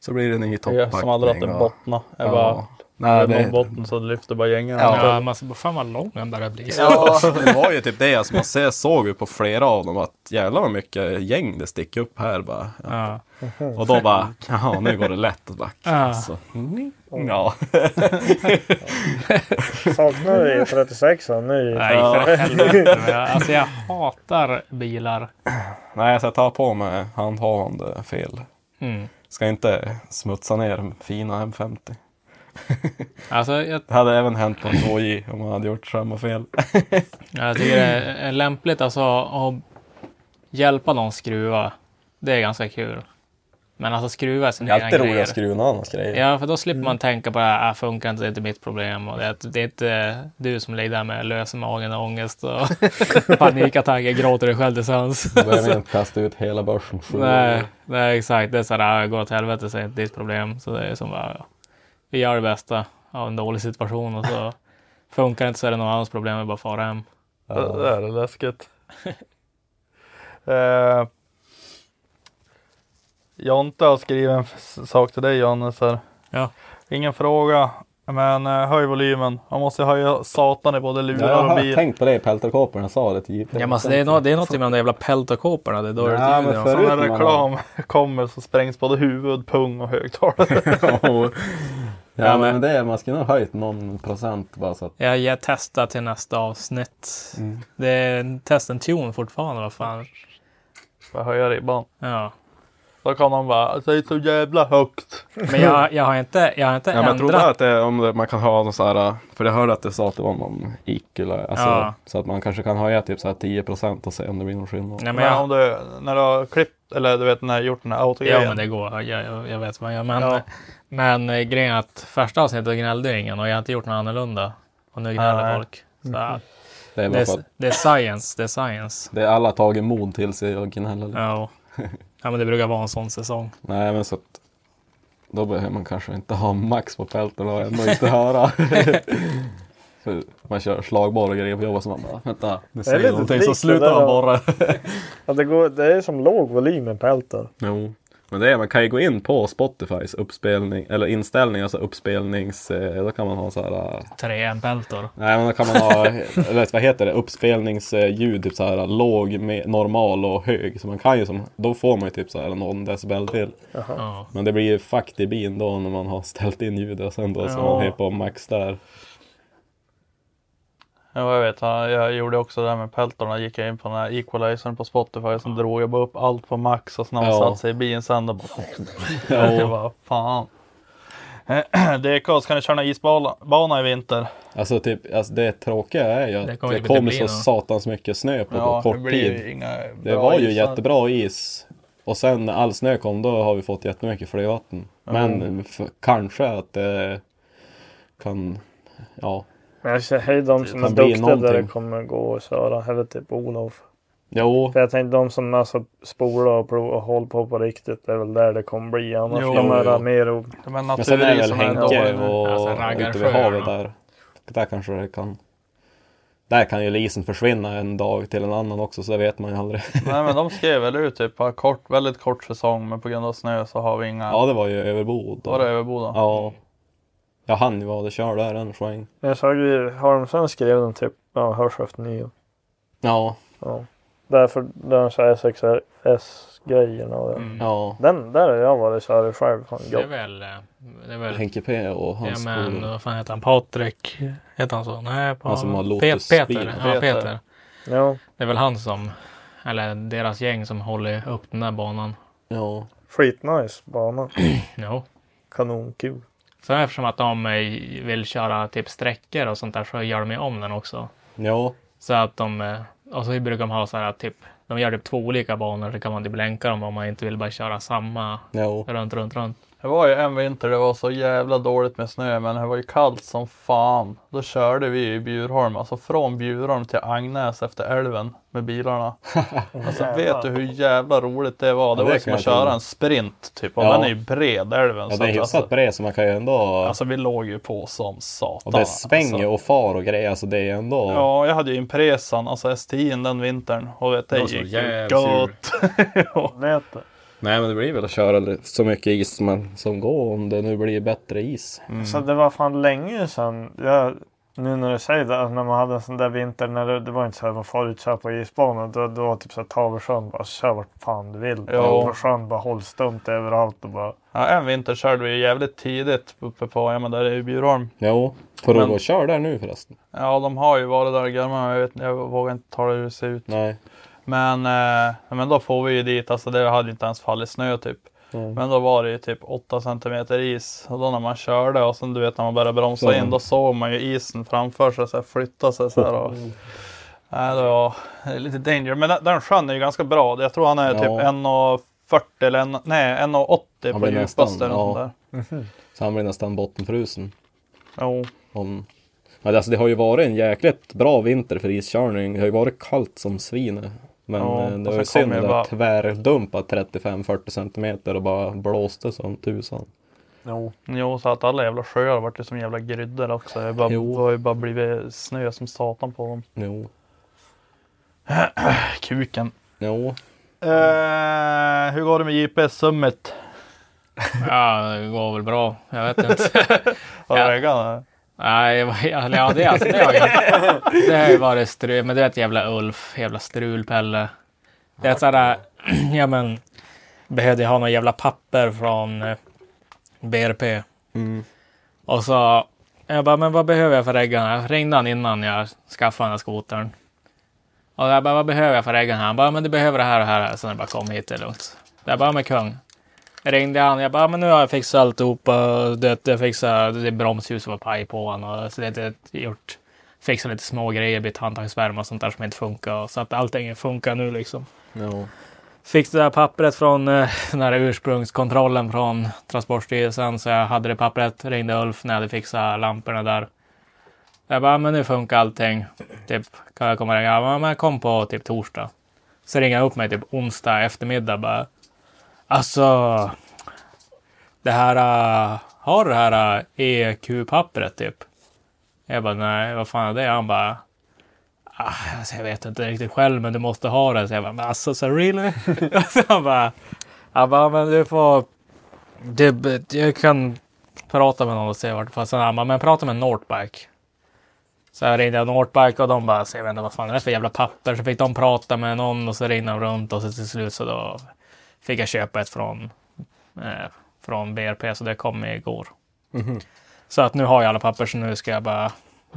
[SPEAKER 4] Så blir det en ny
[SPEAKER 2] Jag
[SPEAKER 4] topppackning.
[SPEAKER 2] som aldrig haft en
[SPEAKER 4] och-
[SPEAKER 2] bottna. Jag bara,
[SPEAKER 4] Nej,
[SPEAKER 2] det...
[SPEAKER 4] det,
[SPEAKER 2] någon botten så lyfter bara gängarna.
[SPEAKER 3] Ja, man ser bara, fan vad lång den börjar bli.
[SPEAKER 4] ja, det var ju typ det, alltså, man ser, såg ju på flera av dem att jävlar vad mycket gäng det sticker upp här bara.
[SPEAKER 3] Ja.
[SPEAKER 4] Och då bara, jaha nu går det lätt att backa.
[SPEAKER 3] Ja.
[SPEAKER 4] Så, mm, ja.
[SPEAKER 1] Saknar du 36 nu?
[SPEAKER 3] Nej, för helvete. Alltså jag hatar bilar.
[SPEAKER 4] Nej, så jag tar på mig handhavande fel.
[SPEAKER 3] Mm.
[SPEAKER 4] Ska inte smutsa ner fina M50.
[SPEAKER 3] Alltså jag,
[SPEAKER 4] Det hade även hänt på en 2J om man hade gjort samma fel.
[SPEAKER 3] jag tycker det är lämpligt alltså att hjälpa någon skruva. Det är ganska kul. Men alltså skruva är
[SPEAKER 4] Det
[SPEAKER 3] sina
[SPEAKER 4] är alltid
[SPEAKER 3] egna
[SPEAKER 4] roligt
[SPEAKER 3] grejer.
[SPEAKER 4] att skruva Mm. någon annans grejer.
[SPEAKER 3] Ja, för då slipper man tänka på det här, ah, funkar inte, det är inte mitt problem. Och det, är att det är inte eh, du som ligger där med lös i magen och ångest och panikattacker, gråter dig själv till sömns.
[SPEAKER 4] Då behöver jag inte kasta ut hela börsen.
[SPEAKER 3] Nej, nej, exakt. Det är sådär, ah, gå åt helvete, så är det inte ditt problem. Så det är som bara, ja, vi gör det bästa av en dålig situation och så funkar det inte så är det någon annans problem, vi bara far hem.
[SPEAKER 2] Det det där är läskigt. eh, Jonte har skrivit en f- sak till dig Johannes här.
[SPEAKER 3] Ja.
[SPEAKER 2] Ingen fråga, men eh, höj volymen. Man måste höja satan i både
[SPEAKER 4] Ja, jag
[SPEAKER 2] lurar och
[SPEAKER 4] har
[SPEAKER 2] bil.
[SPEAKER 4] tänkt på det i Peltorkåporna, jag sa det till JP.
[SPEAKER 3] Ja, men alltså, det, är no- det är något med de där jävla peltokåporna. Det är dåligt
[SPEAKER 4] Ja, men
[SPEAKER 3] ljud.
[SPEAKER 4] för-
[SPEAKER 3] För...
[SPEAKER 2] Så när
[SPEAKER 4] Förutom
[SPEAKER 2] reklam kommer så sprängs både huvud, pung och högtalare.
[SPEAKER 4] ja,
[SPEAKER 3] Ja,
[SPEAKER 4] men
[SPEAKER 3] men-
[SPEAKER 4] det, man skulle nog höjt någon procent bara så att...
[SPEAKER 3] Jag, jag testar till nästa avsnitt.
[SPEAKER 4] Mm.
[SPEAKER 3] Det är test en tune fortfarande, vad fan.
[SPEAKER 2] Bara höja ribban.
[SPEAKER 3] Ja.
[SPEAKER 2] Då kan de bara, det är så jävla högt.
[SPEAKER 3] Men jag, jag har inte, jag har inte
[SPEAKER 4] Ja, men jag trodde
[SPEAKER 3] ändrat.
[SPEAKER 4] att det, om det, man kan ha någon så här, för jag hörde att det sa att det var någon IQ-lö, alltså,
[SPEAKER 3] Ja.
[SPEAKER 4] så att man kanske kan höja typ så här 10 procent och se om det blir någon skillnad.
[SPEAKER 3] Nej,
[SPEAKER 2] Men,
[SPEAKER 3] men jag,
[SPEAKER 2] om du, när du har klippt, eller du vet när jag gjort den här
[SPEAKER 3] ja,
[SPEAKER 2] autogrejen.
[SPEAKER 3] men det går. Jag, jag, jag vet vad jag menar.
[SPEAKER 2] Ja.
[SPEAKER 3] Men eh, grejen är att första avsnittet gnällde ju ingen och jag har inte gjort något annorlunda. Och nu gnäller
[SPEAKER 2] Nej.
[SPEAKER 3] folk. Så att
[SPEAKER 4] Det är
[SPEAKER 3] det,
[SPEAKER 4] bara
[SPEAKER 3] är,
[SPEAKER 4] för att
[SPEAKER 3] det är science, det är science.
[SPEAKER 4] det är alla tagit mod till sig och gnäller lite.
[SPEAKER 3] Ja. ja, men det brukar vara en sån säsong.
[SPEAKER 4] Nej, men så att då behöver man kanske inte ha max på pelten och ändå inte höra. Så man kör slagborr och grejer på jobbet så man bara vänta, nu
[SPEAKER 1] är
[SPEAKER 4] säger
[SPEAKER 1] lite
[SPEAKER 4] någonting så
[SPEAKER 1] likt
[SPEAKER 4] slutar
[SPEAKER 1] det
[SPEAKER 4] han
[SPEAKER 1] där.
[SPEAKER 4] borra.
[SPEAKER 1] Ja, det, går, det är som låg volym i pelten.
[SPEAKER 4] jo, men det är, man kan ju gå in på Spotifys uppspelning eller inställning, alltså uppspelnings, eh, då kan man ha så här. eh,
[SPEAKER 3] Tre M-peltor.
[SPEAKER 4] Nej, men då kan man ha, eller vad heter det, uppspelningsljud, typ så här låg, med, normal och hög. Så man kan ju som, då får man ju typ så här någon decibel till.
[SPEAKER 3] Ja.
[SPEAKER 4] Men det blir ju fucked i bin då när man har ställt in ljudet och sen då så man är på max där.
[SPEAKER 2] Ja, jag vet. Han- Jag gjorde också det här med peltorna. Gick jag in på den här equalizern på Spotify. Sen drog jag bara upp allt på max och sen när
[SPEAKER 4] Ja.
[SPEAKER 2] man satt sig i bilen sen då bara... Jag bara, fan. Eh, DKs, kan du köra någon isbana bana i vinter?
[SPEAKER 4] Alltså, typ, alltså det tråkiga är ju att
[SPEAKER 3] Det
[SPEAKER 4] det
[SPEAKER 3] kommer
[SPEAKER 4] kommer,
[SPEAKER 3] typ inte bli
[SPEAKER 4] så
[SPEAKER 3] någon.
[SPEAKER 4] satans mycket snö på
[SPEAKER 2] det
[SPEAKER 4] kort
[SPEAKER 2] blir ju
[SPEAKER 4] tid.
[SPEAKER 2] inga
[SPEAKER 4] Det
[SPEAKER 2] bra
[SPEAKER 4] var ju
[SPEAKER 2] isar.
[SPEAKER 4] jättebra is. Och sen när all snö kom då har vi fått jättemycket flövatten. Men f- kanske att det kan, ja.
[SPEAKER 1] Men jag säger hej de som är
[SPEAKER 4] kan bli
[SPEAKER 1] duktiga där det
[SPEAKER 4] någonting.
[SPEAKER 1] kommer gå och köra. Eller typ Olof.
[SPEAKER 4] Jo,
[SPEAKER 1] För jag tänkte de som är så spola och, plo- och håller på på riktigt. Det är väl där det kommer bli. Annars
[SPEAKER 2] Jo,
[SPEAKER 1] de
[SPEAKER 4] jo.
[SPEAKER 1] är mer och...
[SPEAKER 2] De här
[SPEAKER 4] men sen är det väl
[SPEAKER 2] naturisarna ändå.
[SPEAKER 4] Henke och
[SPEAKER 3] Alltså,
[SPEAKER 4] ute
[SPEAKER 3] raggarsjöar
[SPEAKER 4] vid havet
[SPEAKER 3] då.
[SPEAKER 4] där. Där kanske det kan. Där kan ju isen försvinna en dag till en annan också så det vet man ju aldrig.
[SPEAKER 2] Nej men de skrev väl ut typ bara kort, väldigt kort säsong men på grund av snö så har vi inga.
[SPEAKER 4] Ja, det var ju överbod. då.
[SPEAKER 2] Var det Överboda?
[SPEAKER 4] Ja. Jag hann ju vara det kör där en sväng.
[SPEAKER 1] Jag såg ju, har de sen skrev de typ, ja hörs efter nio.
[SPEAKER 4] Ja,
[SPEAKER 1] Ja. Därför den så här SXRS-grejen och det.
[SPEAKER 3] Mm.
[SPEAKER 4] ja.
[SPEAKER 1] Den där har jag varit och kört själv. Fan,
[SPEAKER 3] Det är
[SPEAKER 1] gott.
[SPEAKER 3] väl... eh, Det är väl
[SPEAKER 4] Henke P och
[SPEAKER 3] ja,
[SPEAKER 4] hans
[SPEAKER 3] men,
[SPEAKER 2] eh,
[SPEAKER 4] polare.
[SPEAKER 3] vad fan heter han? Patrik? Heter han så? Nej, pa-
[SPEAKER 4] Han som har
[SPEAKER 3] Pe-
[SPEAKER 4] Lotusbil.
[SPEAKER 3] Peter. Ja, Peter.
[SPEAKER 2] Peter.
[SPEAKER 1] Ja,
[SPEAKER 3] Det är väl han som... Eller deras gäng som håller upp den där banan.
[SPEAKER 4] Ja.
[SPEAKER 1] skitnice bana.
[SPEAKER 3] Jo.
[SPEAKER 1] Kanonkul.
[SPEAKER 3] Sen eftersom att de eh, vill köra typ sträckor och sånt där så gör de ju om den också.
[SPEAKER 4] Ja.
[SPEAKER 3] Så att de, eh, och så brukar de ha så här typ, de gör typ två olika banor så kan man typ länka dem om man inte vill bara köra samma
[SPEAKER 4] Ja.
[SPEAKER 3] runt, runt, runt.
[SPEAKER 2] Det var ju en vinter det var så jävla dåligt med snö men det var ju kallt som fan. Då körde vi i Bjurholm, alltså från Bjurholm till Agnäs efter älven med bilarna. Alltså vet du hur jävla roligt det var? Det
[SPEAKER 4] det
[SPEAKER 2] var ju
[SPEAKER 4] kan
[SPEAKER 2] som
[SPEAKER 4] jag
[SPEAKER 2] att köra
[SPEAKER 4] tänka.
[SPEAKER 2] en sprint typ och
[SPEAKER 4] Ja.
[SPEAKER 2] den är ju bred älven.
[SPEAKER 4] ja,
[SPEAKER 2] så
[SPEAKER 4] det är
[SPEAKER 2] att,
[SPEAKER 4] hyfsat
[SPEAKER 2] alltså,
[SPEAKER 4] bred så man kan ju ändå...
[SPEAKER 2] alltså vi låg ju på som satan.
[SPEAKER 4] och det svänger
[SPEAKER 2] alltså.
[SPEAKER 4] och far och grejer så det är ändå...
[SPEAKER 2] Ja, jag hade ju Impresan, alltså S10 den vintern. Och vet, det,
[SPEAKER 4] Det var så
[SPEAKER 2] gick ju
[SPEAKER 4] jävligt
[SPEAKER 2] gott.
[SPEAKER 1] Lät det.
[SPEAKER 4] Nej men det blir väl att köra li- så mycket is som, man, som går om det nu blir bättre is.
[SPEAKER 3] Mm.
[SPEAKER 1] Så det var fan länge sedan. Jag, nu när du säger det, alltså när man hade en sån där vinter när det, det var inte så här, vad farligt kör på isbanan. Då, då var typ så här, Tavelsjön bara kör vart fan du vill.
[SPEAKER 2] Ja.
[SPEAKER 1] På sjön bara håll stumt överallt och bara.
[SPEAKER 2] Ja, en vinter körde vi ju jävligt tidigt uppe på, ja men där är ju Bjurholm.
[SPEAKER 4] Jo. Får du
[SPEAKER 2] Men-
[SPEAKER 4] gå och köra där nu förresten?
[SPEAKER 2] Ja, de har ju varit där gamla, men jag, vet, jag vågar inte ta det hur det ser ut.
[SPEAKER 4] Nej.
[SPEAKER 2] Men, eh, men då får vi ju dit, alltså det hade ju inte ens fallit snö typ.
[SPEAKER 4] Mm.
[SPEAKER 2] Men då var det ju typ 8 centimeter is och då när man körde och sen du vet när man började bromsa
[SPEAKER 4] Så.
[SPEAKER 2] in då såg man ju isen framför sig så här, flytta sig så här. Och,
[SPEAKER 4] Mm.
[SPEAKER 2] nej, det var lite danger. Men den, den sjön är ju ganska bra. Jag tror han är typ
[SPEAKER 4] Ja.
[SPEAKER 2] 1,40 eller en, nej 1,80
[SPEAKER 4] Han
[SPEAKER 2] på
[SPEAKER 4] blir nästan,
[SPEAKER 2] djupaste. eller
[SPEAKER 4] ja.
[SPEAKER 2] något där.
[SPEAKER 4] Så han blir nästan bottenfrusen.
[SPEAKER 2] Jo.
[SPEAKER 4] Om... Men alltså det har ju varit en jäkligt bra vinter för iskörning. Det har ju varit kallt som svin. Men
[SPEAKER 2] Ja,
[SPEAKER 4] eh,
[SPEAKER 2] och
[SPEAKER 4] det var
[SPEAKER 2] sen
[SPEAKER 4] ju synd
[SPEAKER 2] kom ju
[SPEAKER 4] att det
[SPEAKER 2] bara-
[SPEAKER 4] tvärdumpat 35-40 centimeter och bara blåste som tusan.
[SPEAKER 1] Jo.
[SPEAKER 2] Jo, så att alla jävla sjöar har varit ju som jävla gryddor också. Det, bara,
[SPEAKER 4] Jo.
[SPEAKER 2] det har ju bara blivit snö som satan på dem.
[SPEAKER 4] Jo.
[SPEAKER 3] Äh,
[SPEAKER 2] Kuken.
[SPEAKER 4] Jo.
[SPEAKER 2] Eh, hur går det med JPS Summit?
[SPEAKER 3] Ja, det går väl bra. Jag vet inte.
[SPEAKER 2] Har
[SPEAKER 3] Ja.
[SPEAKER 2] du ögonen?
[SPEAKER 3] Nej, vad- eller ja, det, alltså, det har jag Det har ju varit strul. Men du vet jävla Ulf, jävla strulpelle. Det är sådär, ja men, behövde jag ha några jävla papper från eh, BRP.
[SPEAKER 4] Mm.
[SPEAKER 3] Och så, jag bara, men vad behöver jag för reggarna? Jag ringde han innan jag skaffade den här skotern. Och jag bara, vad behöver jag för reggarna? Han bara, men du behöver det här och det här. Sen jag bara, kom hit, det är lugnt. Jag bara, men kung. Jag ringde han, jag bara, "Ah, men nu har jag fixat alltihopa. Det, jag fixade, det bromsljus var paj på han och så det, det gjort. Fixade lite små grejer, bytt handtagsvärme och sånt där som inte funkar. och Så att allting funkar nu liksom.
[SPEAKER 4] Jo.
[SPEAKER 3] Fick det där pappret från eh, den här ursprungskontrollen från Transportstyrelsen. Så jag hade det pappret, ringde Ulf när jag hade fixat lamporna där. Jag bara, "Ah, men nu funkar allting. Typ, kan jag komma och ringa? Ja, men jag kom på typ torsdag. Så ringer han upp mig typ onsdag eftermiddag bara. Alltså, det här, eh, har du det här eh, EQ-pappret typ? Jag bara, nej, vad fan är det? Han bara, Ah, alltså jag vet inte riktigt själv, men du måste ha det. Så jag bara, men alltså, så really? så han bara, han bara, men du får... Du, jag kan prata med någon och se vart... Fast han bara, men prata med Northbike. Så jag ringde jag Northbike och de bara, så jag vet inte vad fan det är för jävla papper. Så fick de prata med någon och så ringde de runt och så till slut så då fick jag köpa ett från, eh, från BRP. Så det kom igår. Så att nu har jag alla papper så nu ska jag bara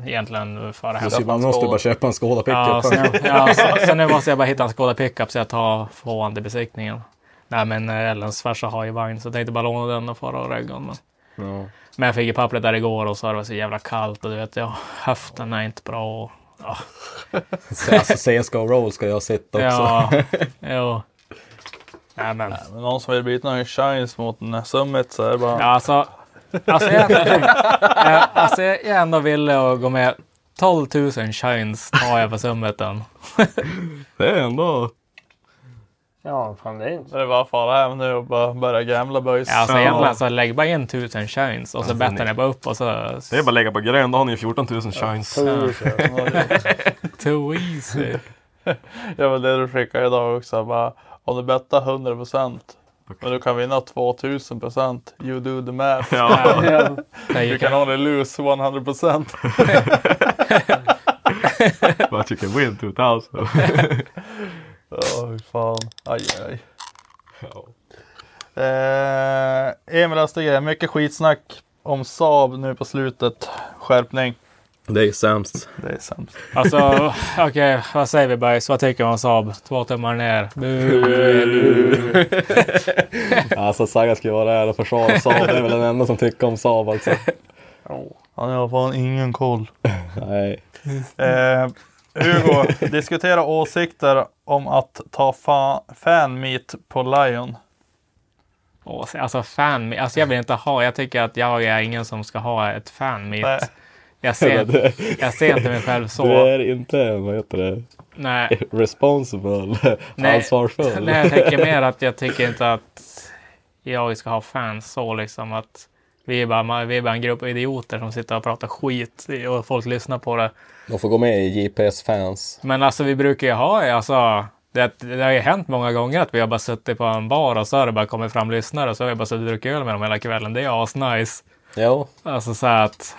[SPEAKER 3] egentligen föra hem.
[SPEAKER 6] Så man måste bara köpa en Skoda pickup.
[SPEAKER 3] Ja, sen, ja, så- sen nu måste jag bara hitta en Skoda pickup så jag tar från till besiktningen. Nej men eh, Ellens farsa har ju vagn så jag tänkte bara låna den och fara och rögga om den.
[SPEAKER 6] Ja.
[SPEAKER 3] Men jag fick ju pappret där igår och så var det så jävla kallt och du vet, ja, höften är inte bra. Och,
[SPEAKER 6] Så, Alltså CSGO roll ska jag sitta också.
[SPEAKER 3] ja, jo. Nej men.
[SPEAKER 2] Men någon som vill byta en shines mot en summit så är det bara...
[SPEAKER 3] Ja, alltså, alltså, jag, eh, alltså jag är ändå villig att gå med 12 000 shines tar jag på summeten.
[SPEAKER 4] Det är ändå...
[SPEAKER 1] Ja, fan det är inte...
[SPEAKER 2] Så det är bara att fara hem nu och bara börja gamla boys.
[SPEAKER 3] Ja, Alltså egentligen så lägg bara in 1000 shines och så bettar ni bara upp och så...
[SPEAKER 7] Det är bara att lägga på grön, då har ni 14 000 shines.
[SPEAKER 3] Too easy.
[SPEAKER 2] Det var det du skickade idag också. Bara, om du bettar 100 procent men du kan vinna 2000 procent. You do the math.
[SPEAKER 7] Ja.
[SPEAKER 3] Det
[SPEAKER 2] You
[SPEAKER 3] gick,
[SPEAKER 2] can only lose 100 procent.
[SPEAKER 7] But you can win 2000.
[SPEAKER 2] Åh, fy fan. Aj, aj. Eh, Emil Östergren, mycket skitsnack om Saab nu på slutet. Skärpning.
[SPEAKER 4] Det är sämst.
[SPEAKER 2] Det är sämst.
[SPEAKER 3] alltså, okej, vad säger vi boys? Vad tycker vi om Saab? Två tummar ner.
[SPEAKER 4] Alltså Saga ska ju vara här och försvara Saab. Det är väl den enda som tycker om Saab alltså.
[SPEAKER 2] Han har fan ingen koll.
[SPEAKER 4] Nej.
[SPEAKER 2] Eh, Hugo, diskutera åsikter om att ta fa- fanmeet på Lion.
[SPEAKER 3] Åh, Alltså fan, alltså jag vill inte ha, jag tycker att jag är ingen som ska ha ett fan mitt.
[SPEAKER 2] Nej.
[SPEAKER 3] Jag ser, jag ser inte mig själv
[SPEAKER 4] Du
[SPEAKER 3] så.
[SPEAKER 4] är inte en, vad heter det,
[SPEAKER 3] Nej.
[SPEAKER 4] responsible,
[SPEAKER 3] Nej.
[SPEAKER 4] ansvarsfull.
[SPEAKER 3] Nej, jag tänker mer att jag tycker inte att jag ska ha fans så liksom att vi är bara, vi är bara en grupp idioter som sitter och pratar skit och folk lyssnar på det.
[SPEAKER 4] De får gå med i JPS fans.
[SPEAKER 3] Men alltså vi brukar ju ha, alltså, det, det har ju hänt många gånger att vi har bara suttit på en bar och så har det bara kommit fram lyssnare och så har vi bara suttit och druckit öl med dem hela kvällen. Det är asnice.
[SPEAKER 4] Ja,
[SPEAKER 3] Alltså så här att,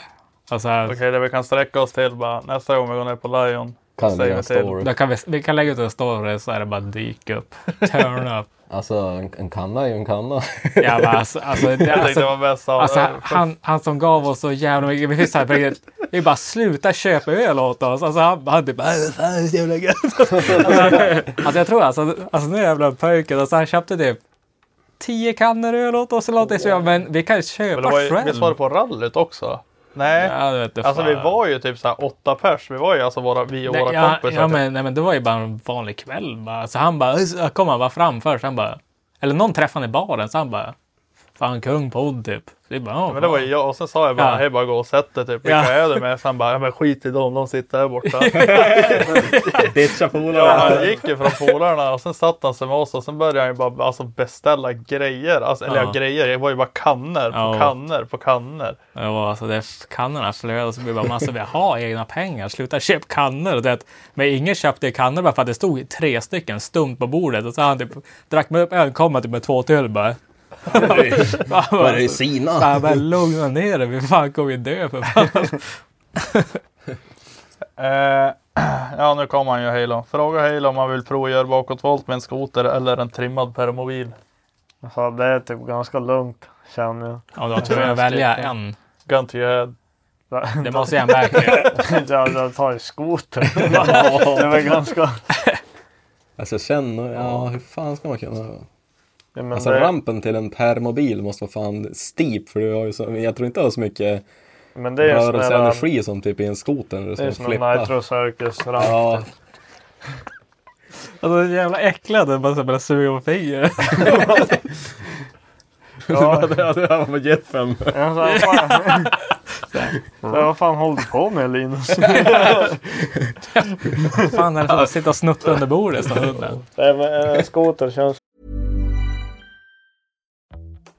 [SPEAKER 3] alltså,
[SPEAKER 2] Okej, det vi kan sträcka oss till bara nästa gång vi går ner på Lion.
[SPEAKER 4] kan det
[SPEAKER 2] Säg
[SPEAKER 4] bli en
[SPEAKER 2] vad till.
[SPEAKER 4] story.
[SPEAKER 3] då kan vi, vi kan lägga ut en story så är det bara dyk upp, turn up.
[SPEAKER 4] Alltså en, en kanna är ju en kanna.
[SPEAKER 3] Ja, men alltså, alltså, det,
[SPEAKER 2] Jag tyckte det
[SPEAKER 3] alltså,
[SPEAKER 2] var bäst av
[SPEAKER 3] Alltså han, han som gav oss så jävla mycket. Vi fick så här på riktigt. Vi bara sluta köpa öl åt oss. Alltså han, han typ. "Äh, fan, det är så jävla gött." Alltså, alltså jag tror alltså. Alltså nu jävla pojken. Alltså han köpte typ. Tio kannor öl åt oss eller någonting. Så jag, men vi kan ju
[SPEAKER 2] Men det
[SPEAKER 3] köpa
[SPEAKER 2] var ju,
[SPEAKER 3] själv.
[SPEAKER 2] visst var det på rallyt också? Nej.
[SPEAKER 3] Ja, det vet du
[SPEAKER 2] Alltså vi
[SPEAKER 3] fan.
[SPEAKER 2] var ju typ så här åtta pers. Vi var ju alltså våra, vi och
[SPEAKER 3] Nej,
[SPEAKER 2] våra
[SPEAKER 3] ja,
[SPEAKER 2] kompisar.
[SPEAKER 3] Ja,
[SPEAKER 2] typ.
[SPEAKER 3] men, nej, men det var ju bara en vanlig kväll. Bara. Så han bara, "Äh, kom han bara fram först. Han bara, eller någon träffade han i baren. Så han bara, fan kung podd typ. Så vi bara, "Ja,
[SPEAKER 2] Men det var ju jag och sen sa jag bara,
[SPEAKER 3] Ja.
[SPEAKER 2] hej bara gå och sätt dig typ. Vilka
[SPEAKER 3] Ja.
[SPEAKER 2] är du med? Sen bara, ja, men skit i dem, de sitter här borta.
[SPEAKER 6] Ditcha
[SPEAKER 2] ja,
[SPEAKER 6] polarna.
[SPEAKER 2] han gick ju från polarna och sen satt han sig med oss och sen började han ju bara alltså, beställa grejer. Alltså, eller ja,
[SPEAKER 3] Ja.
[SPEAKER 2] grejer, det var ju bara kannor på
[SPEAKER 3] Ja.
[SPEAKER 2] kannor på kannor.
[SPEAKER 3] Ja, alltså det kannorna flödade och så blev det bara massa vi har egna pengar, sluta köp kannor. Och Det, att- men ingen köpte ju kannor bara för att det stod tre stycken stumt på bordet och så han typ drack med upp en komma typ med två till bara. Bara,
[SPEAKER 6] Var det
[SPEAKER 3] bara,
[SPEAKER 6] sina?
[SPEAKER 3] bara, bara lugna ner dig, vi fan kommer vi dö för fan.
[SPEAKER 2] Eh, ja, nu kommer han ju Halo. Fråga Halo om han vill provgöra bakåtvolt med en skoter eller en trimmad permobil.
[SPEAKER 1] Alltså, det är typ ganska lugnt känner jag.
[SPEAKER 3] Om du har tur att välja en.
[SPEAKER 2] Gun to your head.
[SPEAKER 3] Det måste jag märka.
[SPEAKER 1] Jag, jag tar ju skoter. det var ganska...
[SPEAKER 4] Alltså jag känner, ja hur fan ska man kunna?
[SPEAKER 1] Ja, men
[SPEAKER 4] Alltså
[SPEAKER 1] det,
[SPEAKER 4] rampen till en permobil måste vara fan steep för du har ju så, jag tror inte jag har så mycket
[SPEAKER 1] men det är ju sån här...
[SPEAKER 4] rörelseenergi som typ i en skoter. när
[SPEAKER 1] Det är
[SPEAKER 4] du
[SPEAKER 1] som
[SPEAKER 4] ska
[SPEAKER 1] en
[SPEAKER 4] flippa.
[SPEAKER 1] Nitro Circus ramp.
[SPEAKER 4] Ja,
[SPEAKER 3] Alltså jävla äcklad, den bara, bara suger på fingret.
[SPEAKER 1] Ja,
[SPEAKER 6] det här var jetfem.
[SPEAKER 1] jag sa, vad fan- Så Vad fan håller du på med Linus?
[SPEAKER 3] Vad fan är det som sitter och snuttar under bordet som hunden?
[SPEAKER 1] Nej, men en skoter känns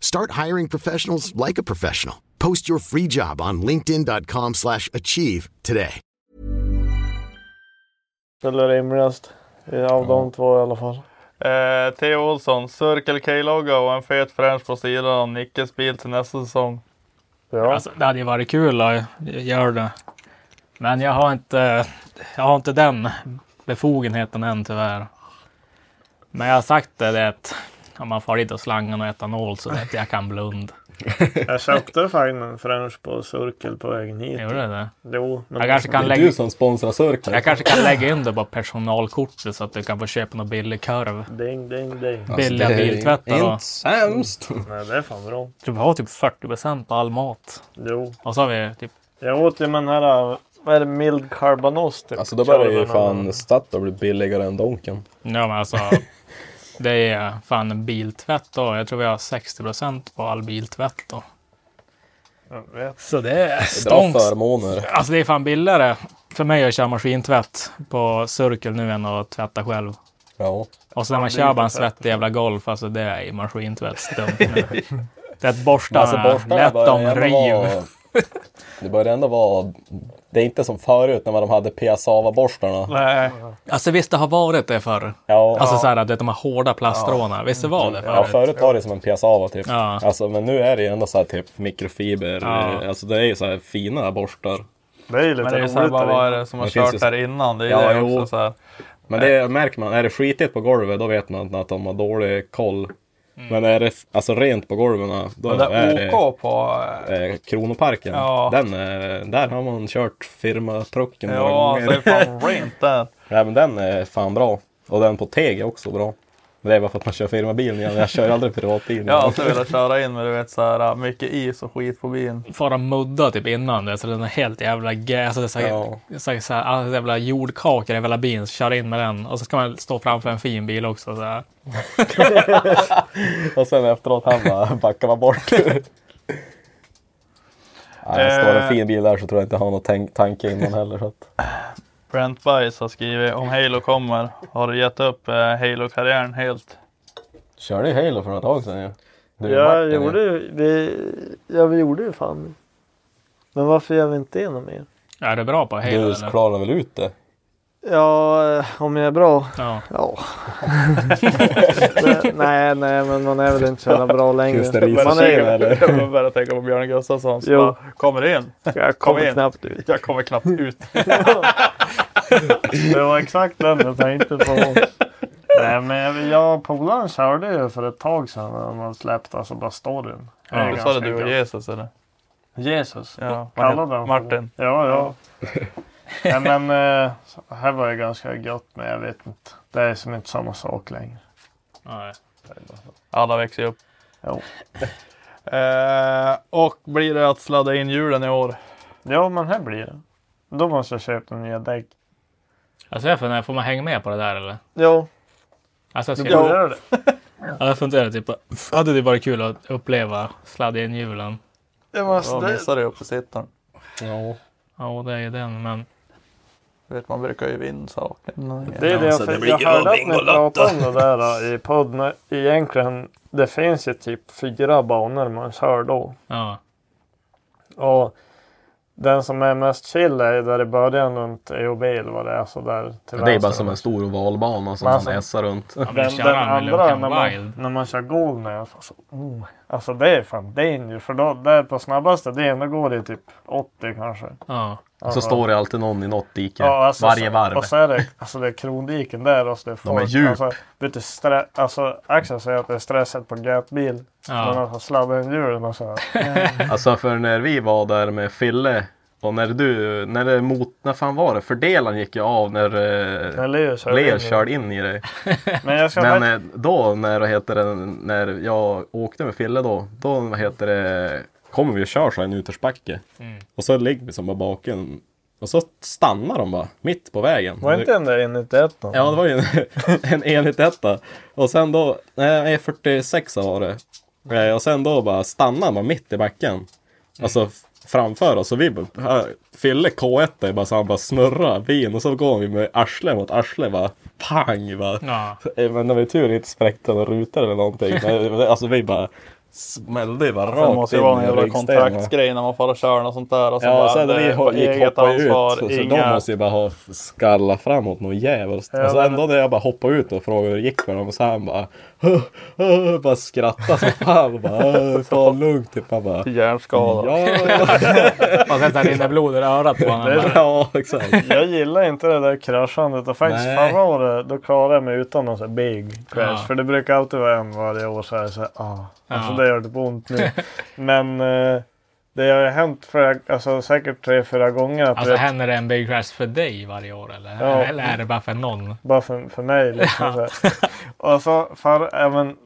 [SPEAKER 8] Start hiring professionals like a professional. Post your free job on linkedin.com slash achieve today.
[SPEAKER 1] Eller rimligast eh, av de två i alla fall.
[SPEAKER 2] Eh, Theo Olsson, Circle K-logga och en fet fräsch på sidan av Nickes bil till nästa säsong.
[SPEAKER 3] Ja. Alltså, det hade ju varit kul att göra det. Men jag har inte, jag har inte den befogenheten än tyvärr. Men jag har sagt det, det att om man far dit och slangen och etanol så vet jag kan blund.
[SPEAKER 1] Jag köpte faktiskt en french på Cirkel på vägen hit.
[SPEAKER 3] Gjorde du det?
[SPEAKER 1] Jo.
[SPEAKER 3] Jag kanske kan
[SPEAKER 4] det är
[SPEAKER 3] lägga-
[SPEAKER 4] du som sponsrar Cirkel.
[SPEAKER 3] Jag kanske kan lägga in det på personalkortet så att du kan få köpa någon billig korv.
[SPEAKER 1] Ding, ding, ding.
[SPEAKER 3] Billiga
[SPEAKER 4] Alltså, det är
[SPEAKER 3] biltvättar då.
[SPEAKER 4] inte sämst.
[SPEAKER 1] Nej, det är fan bra.
[SPEAKER 3] Jag tror vi har typ 40 procent på all mat.
[SPEAKER 1] Jo.
[SPEAKER 3] Och så har vi typ...
[SPEAKER 1] Jag åt ju med den här, vad är det, mild carbanos typ.
[SPEAKER 4] Alltså då börjar ju
[SPEAKER 1] Körde någon-
[SPEAKER 4] fan Statoil bli billigare än Donken.
[SPEAKER 3] Ja men alltså. det är fan en biltvätt då. Jag tror vi har 60 procent på all biltvätt då.
[SPEAKER 1] Jag vet.
[SPEAKER 3] Så det är
[SPEAKER 4] Bra
[SPEAKER 3] stångs.
[SPEAKER 4] förmåner.
[SPEAKER 3] Alltså det är fan billigare för mig att köra maskintvätt på Cirkel nu än att tvätta själv.
[SPEAKER 4] Ja.
[SPEAKER 3] Och sen när man
[SPEAKER 1] det är
[SPEAKER 3] kör bara en
[SPEAKER 1] lite tvätt.
[SPEAKER 3] svettig jävla golf, alltså det är ju maskintvätt stumt nu. Det är att borsta
[SPEAKER 4] Alltså borstarna
[SPEAKER 3] lätt om
[SPEAKER 4] börjar ändå
[SPEAKER 3] riv.
[SPEAKER 4] vara... Det börjar ändå vara... Det är inte som förut när de hade Piassava-borstarna.
[SPEAKER 2] Nej,
[SPEAKER 3] Alltså visst det har varit det förr.
[SPEAKER 4] Ja.
[SPEAKER 3] Alltså så här att du vet, de här hårda plastråna. Visst det var det
[SPEAKER 4] Ja,
[SPEAKER 3] förr?
[SPEAKER 4] förut var det som en piassava typ.
[SPEAKER 3] Ja.
[SPEAKER 4] Alltså, men nu är det ju ändå så här typ mikrofiber.
[SPEAKER 3] Ja.
[SPEAKER 4] Alltså det är ju så här fina borstar.
[SPEAKER 1] Det är ju lite
[SPEAKER 2] men det är ju såhär,
[SPEAKER 1] roligt.
[SPEAKER 2] vad
[SPEAKER 1] där
[SPEAKER 2] var
[SPEAKER 1] inne.
[SPEAKER 2] det som har
[SPEAKER 4] Det finns
[SPEAKER 2] kört
[SPEAKER 4] ju-
[SPEAKER 2] här innan? Det är
[SPEAKER 4] Ja,
[SPEAKER 2] det
[SPEAKER 4] jo.
[SPEAKER 2] också så här.
[SPEAKER 4] Men det märker man, är det skitigt på golvet då vet man att de har dålig koll. Men är det alltså rent på golven då
[SPEAKER 2] Men Mm. det
[SPEAKER 4] är
[SPEAKER 2] är OK på...
[SPEAKER 4] det eh, Kronoparken.
[SPEAKER 2] Ja.
[SPEAKER 4] Den, eh, där har man kört firmatrucken några
[SPEAKER 2] Ja,
[SPEAKER 4] gånger.
[SPEAKER 2] alltså det är fan rent där.
[SPEAKER 4] Nej, men den är fan bra. Och den på teg är också bra. Men det är bara för att man kör firmabilen igen. Jag kör aldrig privatbilen.
[SPEAKER 2] Jag har alltid velat köra in med du vet såhär mycket is och skit på bilen.
[SPEAKER 3] Fara mudda typ innan det, så den är helt jävla gä... Alltså det är så här,
[SPEAKER 4] Ja.
[SPEAKER 3] så här, så här, alla jävla jordkakor i hela bilen, så kör in med den. Och så ska man stå framför en fin bil också. Så här.
[SPEAKER 4] Och sen efteråt han bara backar man bort. Nej, det står en fin bil där så tror jag inte han har någon tank- tanke innan heller. Så att...
[SPEAKER 2] Brent Bice har skrivit om Halo kommer. Har du gett upp eh, Halo-karriären helt?
[SPEAKER 4] Körde ju Halo för några tag sedan ju. Du och
[SPEAKER 1] Jag
[SPEAKER 4] Martin, ju.
[SPEAKER 1] gjorde ju, vi, ja, vi gjorde ju fan Men varför gör vi inte det något mer?
[SPEAKER 3] Är det bra på Halo
[SPEAKER 4] Du
[SPEAKER 3] eller?
[SPEAKER 4] klarar väl ut det?
[SPEAKER 1] Ja, eh, om jag är bra?
[SPEAKER 3] Ja.
[SPEAKER 1] Ja. det, nej, nej, men man är väl inte så jävla bra längre.
[SPEAKER 4] Finns det riser
[SPEAKER 1] man är
[SPEAKER 4] tjejer,
[SPEAKER 1] ju,
[SPEAKER 4] eller?
[SPEAKER 2] Jag börjar tänka på Björn Gustafsson. som
[SPEAKER 1] Jo.
[SPEAKER 2] bara, Kommer in?
[SPEAKER 1] jag
[SPEAKER 2] Kom
[SPEAKER 1] kommer
[SPEAKER 2] in.
[SPEAKER 1] knappt ut.
[SPEAKER 2] Jag kommer knappt ut.
[SPEAKER 1] Det var exakt den jag tänkte på. nej, men jag, jag och polaren körde ju för ett tag sedan när man släppte alltså bara storyn. Det är
[SPEAKER 2] Du sa
[SPEAKER 1] ganska
[SPEAKER 2] det du och
[SPEAKER 1] kul.
[SPEAKER 2] Jesus eller?
[SPEAKER 1] Jesus.
[SPEAKER 2] Ja, vad
[SPEAKER 1] Kallade
[SPEAKER 2] heter-
[SPEAKER 1] han
[SPEAKER 2] Martin.
[SPEAKER 1] för det? Ja, ja. Nej, men eh, det här var ju ganska gött men jag vet inte. Det är som inte samma sak längre.
[SPEAKER 3] Nej.
[SPEAKER 2] Alla växer ju upp.
[SPEAKER 1] Jo.
[SPEAKER 2] Eh, och blir det att sladda in julen i år?
[SPEAKER 1] Ja men här blir det. Då måste jag köpa nya däck.
[SPEAKER 3] Alltså jag funderar, får man hänga med på det där eller?
[SPEAKER 1] Jo,
[SPEAKER 3] Alltså jag
[SPEAKER 1] du
[SPEAKER 3] ska...
[SPEAKER 1] borde göra det.
[SPEAKER 3] Ja, jag funderar typ, hade det varit kul att uppleva sladda in julen?
[SPEAKER 1] Jag måste,
[SPEAKER 2] Då missar du uppesittaren.
[SPEAKER 4] Ja.
[SPEAKER 3] Ja, det är ju den, men...
[SPEAKER 2] Du vet man brukar ju vinna saker. Mm.
[SPEAKER 1] Det är det jag, för, jag hörde att ni pratade om det där eh, i podden. Egentligen, det finns ju typ fyra banor man kör då.
[SPEAKER 3] Ja.
[SPEAKER 1] Och den som är mest chill är ju där i början runt EOB eller vad det är. Så där till
[SPEAKER 4] Det är bara
[SPEAKER 1] vänster.
[SPEAKER 4] som en stor ovalbana som
[SPEAKER 1] Men alltså-
[SPEAKER 4] man essar runt.
[SPEAKER 3] ja men
[SPEAKER 1] Den,
[SPEAKER 3] köra
[SPEAKER 1] den
[SPEAKER 3] med
[SPEAKER 1] andra
[SPEAKER 3] Loken
[SPEAKER 1] när man,
[SPEAKER 3] Wild.
[SPEAKER 1] när man kör golv när jag så, oh, Alltså det är fan danger. För då, där på snabbaste delen då går det typ 80 kanske.
[SPEAKER 3] Ja.
[SPEAKER 4] Och så står det alltid någon i något dike
[SPEAKER 1] Ja, alltså,
[SPEAKER 4] varje
[SPEAKER 1] så-
[SPEAKER 4] varv.
[SPEAKER 1] Och så är det, alltså det är krondiken där. Alltså det är
[SPEAKER 4] De är
[SPEAKER 1] folk.
[SPEAKER 4] djup.
[SPEAKER 1] Alltså, vet du, stre- alltså, Axel säger att det är stresset på alltså, gapbil.
[SPEAKER 4] Ja.
[SPEAKER 1] Man har sladdat en hjulen och så. eh,
[SPEAKER 4] Alltså för när vi var där med Fille och när du, när det mot, när fan var det? Fördelaren gick ju av när,
[SPEAKER 1] När
[SPEAKER 4] när
[SPEAKER 1] Leo körde in i dig.
[SPEAKER 4] körde in i dig.
[SPEAKER 1] Men jag ska
[SPEAKER 4] Men
[SPEAKER 1] faktiskt-
[SPEAKER 4] eh, då när, vad heter det, när jag åkte med Fille då, då vad heter det, kommer vi och kör så här en utförsbacke.
[SPEAKER 1] Mm.
[SPEAKER 4] Och så ligger vi som bara baken. Och så stannar de bara mitt på vägen.
[SPEAKER 1] Var inte den där enligt ett då?
[SPEAKER 4] Ja, det var ju en, en enligt detta. Och sen då, nej, 46 var det. Eh, Och sen då bara stannar man mitt i
[SPEAKER 2] Mm.
[SPEAKER 4] backen. Alltså f- framför oss. Och vi bara, här, Fille K1 bara så han bara snurrar bilen. Och så går vi med arsle mot arsle bara. Pang! Bara.
[SPEAKER 3] Ja.
[SPEAKER 4] Eh, Men det var ju tur inte spräckte någon ruta eller någonting. Men, alltså vi bara smällde ju bara rakt
[SPEAKER 2] Det måste ju vara en
[SPEAKER 4] i
[SPEAKER 2] jävla
[SPEAKER 4] ryggstenen.
[SPEAKER 2] kontraktsgrej när man får och kör och sånt där. Och så
[SPEAKER 4] Ja,
[SPEAKER 2] bara,
[SPEAKER 4] sen när
[SPEAKER 2] det
[SPEAKER 4] vi
[SPEAKER 2] är på
[SPEAKER 4] ho- gick
[SPEAKER 2] eget
[SPEAKER 4] hoppa ut
[SPEAKER 2] ansvar,
[SPEAKER 4] så, så
[SPEAKER 2] inga-
[SPEAKER 4] de måste ju bara ha skallat framåt något jävligt.
[SPEAKER 2] Ja,
[SPEAKER 4] och så
[SPEAKER 2] men-
[SPEAKER 4] ändå när jag bara hoppade ut och frågade hur det gick för dem och så han bara "Huh, huh", bara skrattade som fan och bara "Äh, ta det lugnt. Typ. Man bara,
[SPEAKER 2] Hjärnskada.
[SPEAKER 4] Ja.
[SPEAKER 3] Och sen så rinner blod ur örat på honom.
[SPEAKER 1] Det-
[SPEAKER 4] ja, exakt.
[SPEAKER 1] Jag gillar inte det där kraschandet och faktiskt
[SPEAKER 3] Nej.
[SPEAKER 1] förra året då klarade jag mig utan någon sån här big crash.
[SPEAKER 3] Ja.
[SPEAKER 1] För det brukar alltid vara en varje år så här, så här ah, alltså
[SPEAKER 3] Ja.
[SPEAKER 1] det gör typ ont nu. Men eh, det har ju hänt för, alltså, säkert tre, fyra gånger. Att
[SPEAKER 3] Alltså
[SPEAKER 1] det-
[SPEAKER 3] händer det en big crash för dig varje år eller?
[SPEAKER 1] Ja.
[SPEAKER 3] Eller är det bara för någon?
[SPEAKER 1] Bara för, för mig. Liksom, så här. Och så för, även,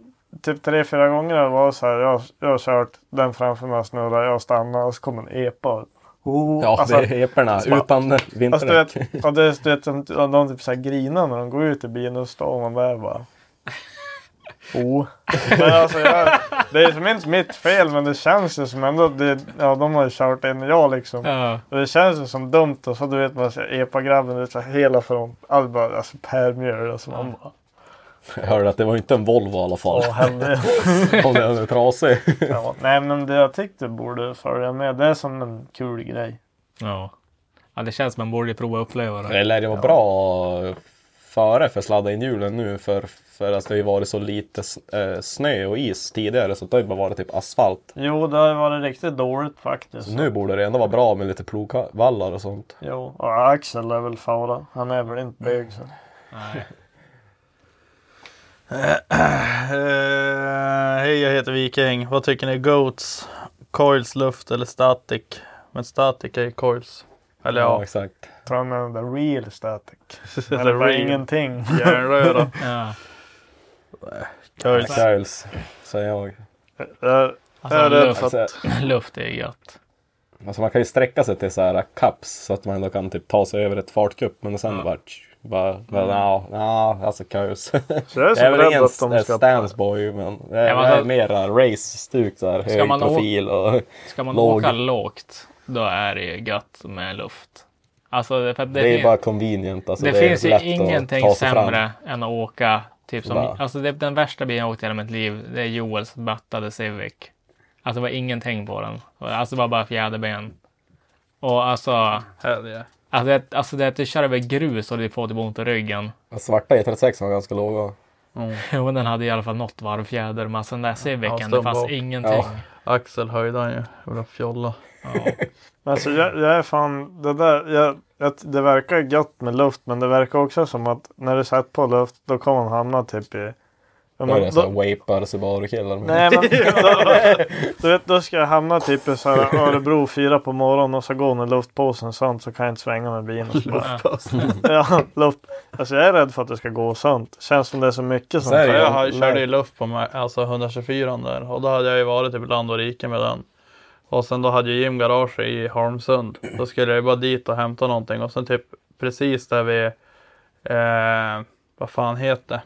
[SPEAKER 1] typ tre, fyra gånger var det så här. Jag, jag har kört den framför mig snurrar, jag stannar och så kommer en epa. Oh,
[SPEAKER 4] Ja,
[SPEAKER 2] Alltså,
[SPEAKER 4] det är eporna,
[SPEAKER 1] så bara-
[SPEAKER 4] utan vinterdäck.
[SPEAKER 1] Alltså, du vet, ja, det är, du vet, de, de, de typ så här grinar när de går ut i bilen och står man där bara. Oh. Men alltså, jag, det är som inte mitt fel men det känns ju som ändå. Det, ja, de har ju kört in i jag liksom.
[SPEAKER 3] Ja.
[SPEAKER 1] Och det känns ju som dumt och så du vet man så här, epa-grabben du vet, så här, hela från allt bara alltså Per Mjöl alltså man bara.
[SPEAKER 4] Jag hörde att det var inte en Volvo i alla fall.
[SPEAKER 1] Åh, helvete.
[SPEAKER 4] Om den är trasig.
[SPEAKER 1] Ja, nej men det jag tyckte borde följa med det är som en kul grej.
[SPEAKER 3] Ja. ja, det känns som man borde prova att uppleva det.
[SPEAKER 4] Det lär ju vara bra före för sladda in hjulen nu för, för att det har ju varit så lite s- eh, snö och is tidigare så det har ju bara varit typ asfalt.
[SPEAKER 1] Jo det har ju varit riktigt dåligt faktiskt.
[SPEAKER 4] Så nu borde det ändå vara bra med lite plogvallar och sånt.
[SPEAKER 1] Jo och Axel är väl fara. Han är väl inte bög så.
[SPEAKER 3] Nej.
[SPEAKER 2] Eh, Hej, jag heter Viking. Vad tycker ni? är Goats, coils, luft eller static? Men static är ju coils. Eller ja.
[SPEAKER 4] exakt.
[SPEAKER 1] Tror han menar the real static.
[SPEAKER 2] The
[SPEAKER 1] Eller bara
[SPEAKER 2] real.
[SPEAKER 1] ingenting.
[SPEAKER 2] Järnröra.
[SPEAKER 3] ja.
[SPEAKER 2] Curls.
[SPEAKER 4] Curls, säger jag.
[SPEAKER 1] Jag
[SPEAKER 3] Alltså,
[SPEAKER 4] är rädd
[SPEAKER 3] luft,
[SPEAKER 4] för att-
[SPEAKER 3] luft är ju gött.
[SPEAKER 4] Alltså man kan ju sträcka sig till så här cups så att man ändå kan typ ta sig över ett fartkupp men sen bara... tsch, Bara, bara
[SPEAKER 2] Mm.
[SPEAKER 4] ja, ja, alltså curls.
[SPEAKER 1] Så jag är så
[SPEAKER 4] väl
[SPEAKER 1] rädd
[SPEAKER 4] ingen
[SPEAKER 1] att de
[SPEAKER 4] s-
[SPEAKER 1] ska-
[SPEAKER 4] stansboy men det är,
[SPEAKER 3] Ja, men
[SPEAKER 4] det är
[SPEAKER 3] alltså-
[SPEAKER 4] mera race-stuk så här.
[SPEAKER 3] Ska
[SPEAKER 4] Hög
[SPEAKER 3] man å-
[SPEAKER 4] profil och
[SPEAKER 3] Ska man
[SPEAKER 4] låg.
[SPEAKER 3] åka lågt, då är det ju gött med luft. Alltså, det, för att
[SPEAKER 4] Det,
[SPEAKER 3] det,
[SPEAKER 4] är ju
[SPEAKER 3] fin-
[SPEAKER 4] bara convenient. Alltså,
[SPEAKER 3] det,
[SPEAKER 4] är
[SPEAKER 3] finns ju
[SPEAKER 4] lätt att
[SPEAKER 3] ingenting
[SPEAKER 4] ta sig fram.
[SPEAKER 3] sämre än att åka typ som,
[SPEAKER 4] Va?
[SPEAKER 3] alltså det, den värsta bilen jag åkt i hela mitt liv, det är Joels battade Civic. Alltså det var ingenting på den. Alltså det var bara fjäderben. Och alltså,
[SPEAKER 2] Hell yeah.
[SPEAKER 3] alltså, det, alltså det att du kör över grus och du får typ ont i ryggen.
[SPEAKER 4] Den Svarta E36 var ganska låga.
[SPEAKER 3] Jo, men den hade i alla fall något varvfjäder, men alltså den där
[SPEAKER 2] Ja,
[SPEAKER 3] Civicen, det
[SPEAKER 2] stumboat.
[SPEAKER 3] fanns ingenting.
[SPEAKER 2] Axel höjde han ju. Jävla fjolla.
[SPEAKER 1] Men Alltså jag, jag är fan, det där, jag, jag, det verkar gött med luft men det verkar också som att när du sätter på luft då kommer man hamna typ i... Ja,
[SPEAKER 4] Då är
[SPEAKER 1] men då-
[SPEAKER 4] det såhär wapar Subaru-killar.
[SPEAKER 1] Nej men då, då, du vet, då ska jag hamna typ i så här Örebro fyra på morgonen och så går den i luftpåsen sånt så kan jag inte svänga med bilen. och så bara-
[SPEAKER 2] Luftpåsen.
[SPEAKER 1] ja, luft. Alltså jag är rädd för att det ska gå sånt. Känns som det är så mycket sånt.
[SPEAKER 2] jag, har- körde ju luft på mig, alltså 124 där och då hade jag ju varit typ land och rike med den. Och sen då hade ju Jim garage i Holmsund. Då skulle jag ju bara dit och hämta någonting och sen typ precis där vi, eh, vad fan heter det?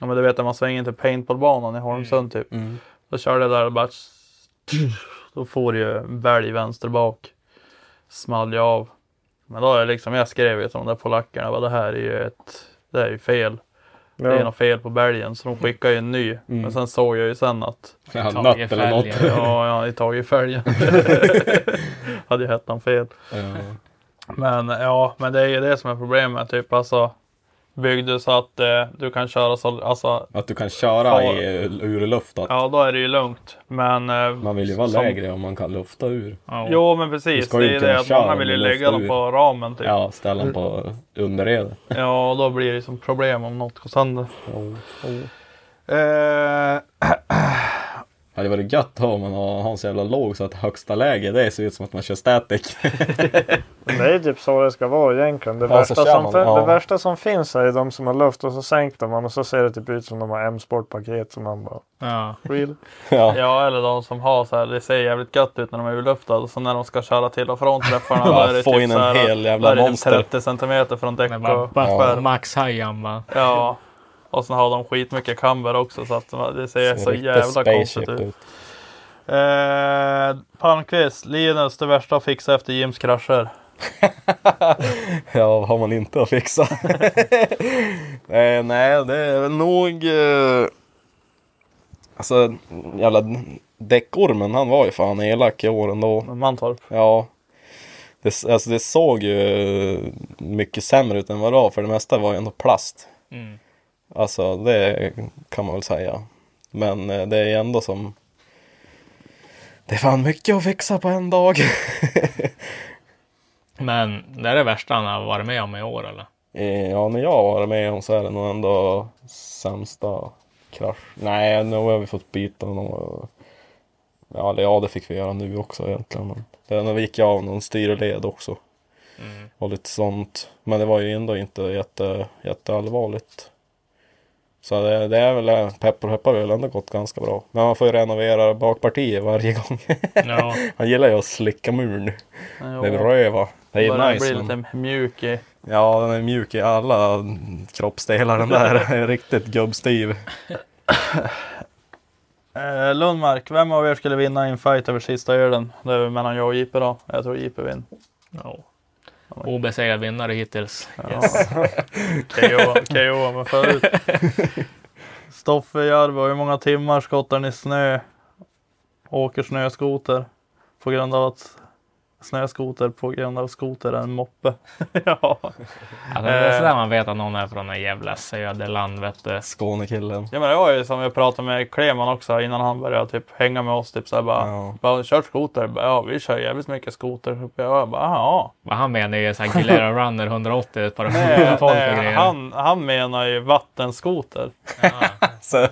[SPEAKER 2] Ja men du vet när man svänger in till paintballbanan i Holmsund typ. Då körde jag där och bara, då får ju en välg vänster bak. Small jag av. Men då är det liksom, jag skrev ju till de där polackerna, bara, det här är ju ett, det här är ju fel. Det
[SPEAKER 1] Ja.
[SPEAKER 2] är något fel på bälgen så de skickar ju en ny.
[SPEAKER 4] Mm.
[SPEAKER 2] Men sen såg jag ju sen att...
[SPEAKER 4] Ja, Tag i natt eller fälgen. något.
[SPEAKER 2] Ja, jag hade tagit fälgen. hade ju hettan fel.
[SPEAKER 4] Ja.
[SPEAKER 2] Men ja, men det är ju det som är problemet. Typ alltså. byggde så att eh, du kan köra så, alltså,
[SPEAKER 4] Att du kan köra i, eh, ur luften.
[SPEAKER 2] ja då är det ju lugnt. Men eh,
[SPEAKER 4] Man vill ju vara
[SPEAKER 2] som-
[SPEAKER 4] lägre om man kan lufta ur.
[SPEAKER 2] Jo men
[SPEAKER 4] Du
[SPEAKER 2] precis,
[SPEAKER 4] ska ju
[SPEAKER 2] det är
[SPEAKER 4] kunna
[SPEAKER 2] det att
[SPEAKER 4] köra
[SPEAKER 2] många vill ju
[SPEAKER 4] om du
[SPEAKER 2] lägga
[SPEAKER 4] luftar
[SPEAKER 2] dem
[SPEAKER 4] ur.
[SPEAKER 2] på ramen typ.
[SPEAKER 4] Ja, ställa den på underredet.
[SPEAKER 2] Ja, och då blir det som problem om något går sönder.
[SPEAKER 4] Eh... Hade varit gött då, om man har har en så jävla låg så att högsta läge det ser ut som att man kör static.
[SPEAKER 1] Men Det är typ så det ska vara egentligen. Det,
[SPEAKER 4] Ja, så
[SPEAKER 1] värsta,
[SPEAKER 4] kör
[SPEAKER 1] som,
[SPEAKER 4] man,
[SPEAKER 1] fin-
[SPEAKER 4] ja.
[SPEAKER 1] det värsta som finns är de som har luft och så sänker man och så ser det typ ut som de har M-sportpaket. som man bara...
[SPEAKER 2] Ja.
[SPEAKER 1] Real.
[SPEAKER 2] Ja. eller de som har så här, det ser jävligt gött ut när de är urluftade och så när de ska köra till och från träffarna då
[SPEAKER 4] Ja,
[SPEAKER 2] är det
[SPEAKER 4] få
[SPEAKER 2] typ
[SPEAKER 4] in
[SPEAKER 2] så här,
[SPEAKER 4] en hel jävla
[SPEAKER 2] då är det typ
[SPEAKER 4] monster.
[SPEAKER 2] 30 centimeter från däck
[SPEAKER 3] bara
[SPEAKER 2] och
[SPEAKER 3] bara
[SPEAKER 2] skärm.
[SPEAKER 3] Max Hajan bara.
[SPEAKER 2] Ja. Och sen har de skitmycket kamber också så att det
[SPEAKER 3] Ser
[SPEAKER 2] ser så
[SPEAKER 3] riktigt
[SPEAKER 2] jävla konstigt
[SPEAKER 3] spaceship
[SPEAKER 2] ut.
[SPEAKER 3] ut.
[SPEAKER 2] Eh, Palmqvist, Linus, det värsta att fixa efter Jims krascher.
[SPEAKER 4] ja, vad har man inte att fixa? eh, nej, det är väl nog... Eh... Alltså, jävla däckormen, han var ju fan elak i år ändå.
[SPEAKER 2] Mantorp?
[SPEAKER 4] Ja. Det, s- alltså det såg ju eh, mycket sämre ut än vad det var, för det mesta var ju ändå plast.
[SPEAKER 3] Mm.
[SPEAKER 4] Alltså det kan man väl säga. Men eh, det är ändå som... Det är fan mycket att fixa på en dag.
[SPEAKER 3] Men det är det värsta han har varit med om i år eller?
[SPEAKER 4] Eh, ja, när jag har varit med om så är det nog ändå sämsta krasch. Nej, nu har vi fått byta någon. Ja, eller ja, det fick vi göra nu också egentligen. Men det, när vi gick av någon styrled också.
[SPEAKER 2] Mm.
[SPEAKER 4] Och lite sånt. Men det var ju ändå inte jätte, jätteallvarligt. Så det, det är väl, peppar peppar har väl ändå gått ganska bra. Men man får ju renovera bakpartiet varje gång.
[SPEAKER 2] Ja.
[SPEAKER 4] Han gillar ju att slicka muren.
[SPEAKER 2] Ja.
[SPEAKER 4] Det är röva. Det är ju
[SPEAKER 2] Börjar
[SPEAKER 4] nice.
[SPEAKER 2] bli
[SPEAKER 4] men-
[SPEAKER 2] lite mjuk i.
[SPEAKER 4] Ja, den är mjuk i alla kroppsdelar den där. Den är Riktigt gubbstiv.
[SPEAKER 2] Eh, Lundmark, vem av er skulle vinna i en fight över sista ölen? Det är väl mellan jag och JP då. Jag tror JP vinner.
[SPEAKER 3] Ja. Obesegrad vinnare hittills.
[SPEAKER 2] Yes. KO, KO men förut. Stoffe Jarbo, hur många timmar skottar ni snö? Åker snöskoter på grund av att snöskoter på grund av skoter är en moppe. ja.
[SPEAKER 3] Alltså, det är
[SPEAKER 2] Eh,
[SPEAKER 3] sådär man vet att någon är från en jävla söderland vet du.
[SPEAKER 4] Skånekillen.
[SPEAKER 2] Ja men det var ju som jag pratade med Kleman också innan han började typ hänga med oss. Typ såhär bara, bara kör skoter. Bara, Ja vi kör jävligt mycket skoter. Typ. Jag bara, ja.
[SPEAKER 3] Vad han menar är ju såhär Gilera Runner 180 ett par
[SPEAKER 2] Nej,
[SPEAKER 3] folk och
[SPEAKER 2] nej,
[SPEAKER 3] grejer.
[SPEAKER 2] Eh, han, han menar ju vattenskoter.
[SPEAKER 4] Så,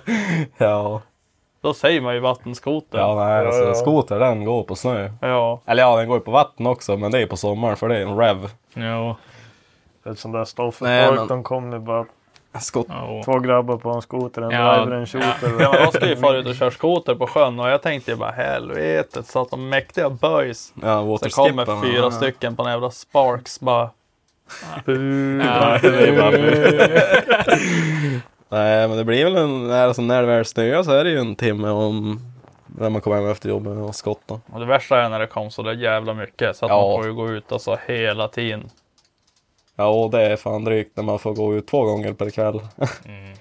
[SPEAKER 4] ja.
[SPEAKER 2] Då säger man ju vattenskoter.
[SPEAKER 4] Ja, nej, alltså, skoter den går på snö.
[SPEAKER 2] Ja.
[SPEAKER 4] Eller ja, den går ju på vatten också, men det är ju på sommaren för det är en rev.
[SPEAKER 3] Ja.
[SPEAKER 1] Ett sånt där
[SPEAKER 4] Nej,
[SPEAKER 1] stofffolk.
[SPEAKER 4] men-
[SPEAKER 1] De kom nu bara.
[SPEAKER 4] Skott.
[SPEAKER 1] Två grabbar på en skoter. En driver, en shooter.
[SPEAKER 2] Ja, men de ska ju fara ut och köra skoter på sjön och jag tänkte ju bara helvetet så att de mäktiga böjs.
[SPEAKER 4] Ja,
[SPEAKER 2] så
[SPEAKER 4] waterskippen,
[SPEAKER 2] kommer fyra
[SPEAKER 4] ja.
[SPEAKER 2] stycken på en jävla Sparks bara. Bu.
[SPEAKER 4] Ja, det är bara bu. Nej, men det blir väl en... Alltså, när det väl snöar så är det ju en timme om... När man kommer hem efter jobbet och skottar.
[SPEAKER 2] Och det värsta är när det kom så där jävla mycket så att
[SPEAKER 4] Ja.
[SPEAKER 2] man får ju gå ut alltså hela tiden.
[SPEAKER 4] Ja, och det är fan drygt när man får gå ut två gånger per kväll.
[SPEAKER 2] Mm.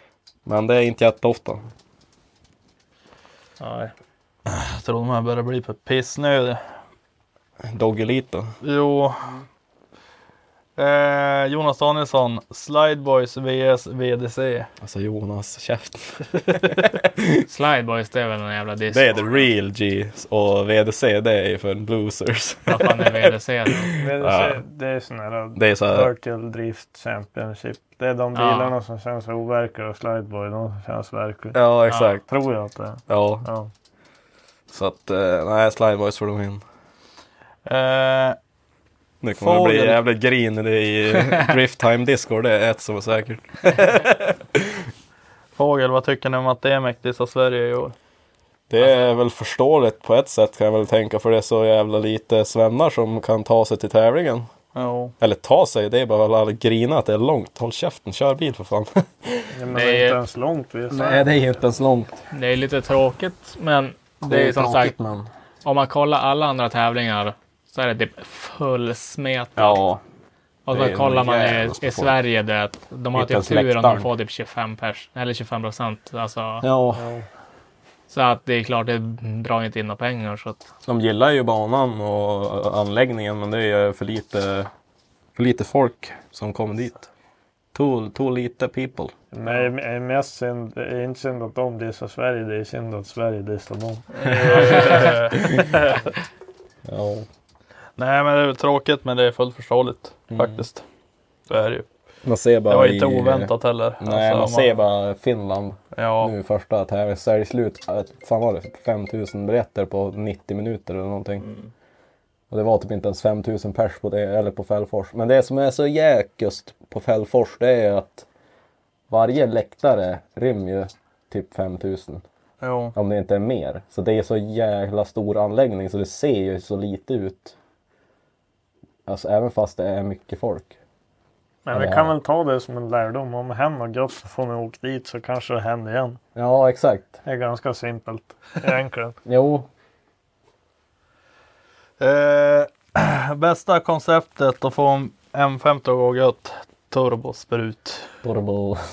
[SPEAKER 4] Men det är inte jätteofta.
[SPEAKER 2] Nej. Jag tror de här börjar bli för pissnödiga.
[SPEAKER 4] Doggelito.
[SPEAKER 2] Jo. Eh, Jonas Danielsson, Slideboys vs VDC.
[SPEAKER 4] Alltså Jonas, käft.
[SPEAKER 3] Slideboys det är väl en jävla disk.
[SPEAKER 4] Det är the real G och VDC det är ju för losers.
[SPEAKER 3] Vad fan är VDC då?
[SPEAKER 4] Ja.
[SPEAKER 1] VDC, det är sån här,
[SPEAKER 4] Det är så här-
[SPEAKER 1] Virtual Drift Championship. Det är de
[SPEAKER 4] Ja.
[SPEAKER 1] bilarna som känns overkliga och Slideboy de som känns verkliga.
[SPEAKER 4] Ja, exakt.
[SPEAKER 1] Tror jag att det är.
[SPEAKER 4] Ja.
[SPEAKER 1] Ja.
[SPEAKER 4] Så att, eh, nej, Slideboys får de in.
[SPEAKER 2] Eh,
[SPEAKER 4] Nu kommer det bli
[SPEAKER 2] Fågel.
[SPEAKER 4] jävligt grin i det i Drift Time Discord, det är ett som är säkert.
[SPEAKER 2] Fågel, vad tycker ni om att Demek dissar Sverige i år?
[SPEAKER 4] Det är väl förståeligt på ett sätt kan jag väl tänka för det är så jävla lite svennar som kan ta sig till tävlingen.
[SPEAKER 2] Ja.
[SPEAKER 4] Eller ta sig, det är bara att grina att det är långt. Håll käften, kör bil för fan.
[SPEAKER 1] Ja, men
[SPEAKER 3] Det
[SPEAKER 1] det är
[SPEAKER 3] är-
[SPEAKER 1] inte ens långt. Vi är så här.
[SPEAKER 4] Nej, det är inte ens långt.
[SPEAKER 3] Det är lite tråkigt, men det
[SPEAKER 4] Det
[SPEAKER 3] är
[SPEAKER 4] är
[SPEAKER 3] ju som
[SPEAKER 4] tråkigt,
[SPEAKER 3] sagt.
[SPEAKER 4] men-
[SPEAKER 3] Om man kollar alla andra tävlingar så är det typ fullsmetat.
[SPEAKER 4] Ja.
[SPEAKER 3] Och
[SPEAKER 4] Det
[SPEAKER 3] så
[SPEAKER 4] är
[SPEAKER 3] kollar
[SPEAKER 4] en
[SPEAKER 3] man i,
[SPEAKER 4] jävla
[SPEAKER 3] i
[SPEAKER 4] sport.
[SPEAKER 3] Sverige det att de har
[SPEAKER 4] Inte
[SPEAKER 3] typ
[SPEAKER 4] ens
[SPEAKER 3] tur om de
[SPEAKER 4] läktaren.
[SPEAKER 3] får typ 25 pers, eller 25 procent. Alltså.
[SPEAKER 4] Ja.
[SPEAKER 3] Så att det är klart, det drar inte in några pengar. Så att,
[SPEAKER 4] De gillar ju banan och anläggningen men det är för lite, för lite folk som kommer dit. Too, too lite people.
[SPEAKER 1] Nej, det är mest synd, det är inte synd att de dissar Sverige, det är synd att Sverige dissar dem.
[SPEAKER 2] ja. Nej men det är väl tråkigt men det är fullt förståeligt
[SPEAKER 4] Mm.
[SPEAKER 2] faktiskt. Så är det ju.
[SPEAKER 4] Man ser bara
[SPEAKER 2] det var inte
[SPEAKER 4] i-
[SPEAKER 2] oväntat heller.
[SPEAKER 4] Nej,
[SPEAKER 2] Alltså,
[SPEAKER 4] man ser bara Finland
[SPEAKER 2] Ja.
[SPEAKER 4] nu första tävlingen. Säljer slut, eh, fan var det 5000 biljetter på 90 minuter eller någonting.
[SPEAKER 2] Mm.
[SPEAKER 4] Och det var typ inte ens 5000 pers på det, eller på Fällfors. Men det som är så jäkust på Fällfors det är att varje läktare rymmer ju typ 5000.
[SPEAKER 2] Jo.
[SPEAKER 4] Om det inte är mer. Så det är så jävla stor anläggning så det ser ju så lite ut. Alltså även fast det är mycket folk.
[SPEAKER 1] Men vi
[SPEAKER 4] Ja.
[SPEAKER 1] kan väl ta det som en lärdom. Om det händer något gött så får ni åka dit så kanske det händer igen.
[SPEAKER 4] Ja, exakt.
[SPEAKER 1] Det är ganska simpelt egentligen.
[SPEAKER 4] Jo.
[SPEAKER 2] Eh, bästa konceptet att få en M50 att gå gött. Turbosprut.
[SPEAKER 4] Turbo.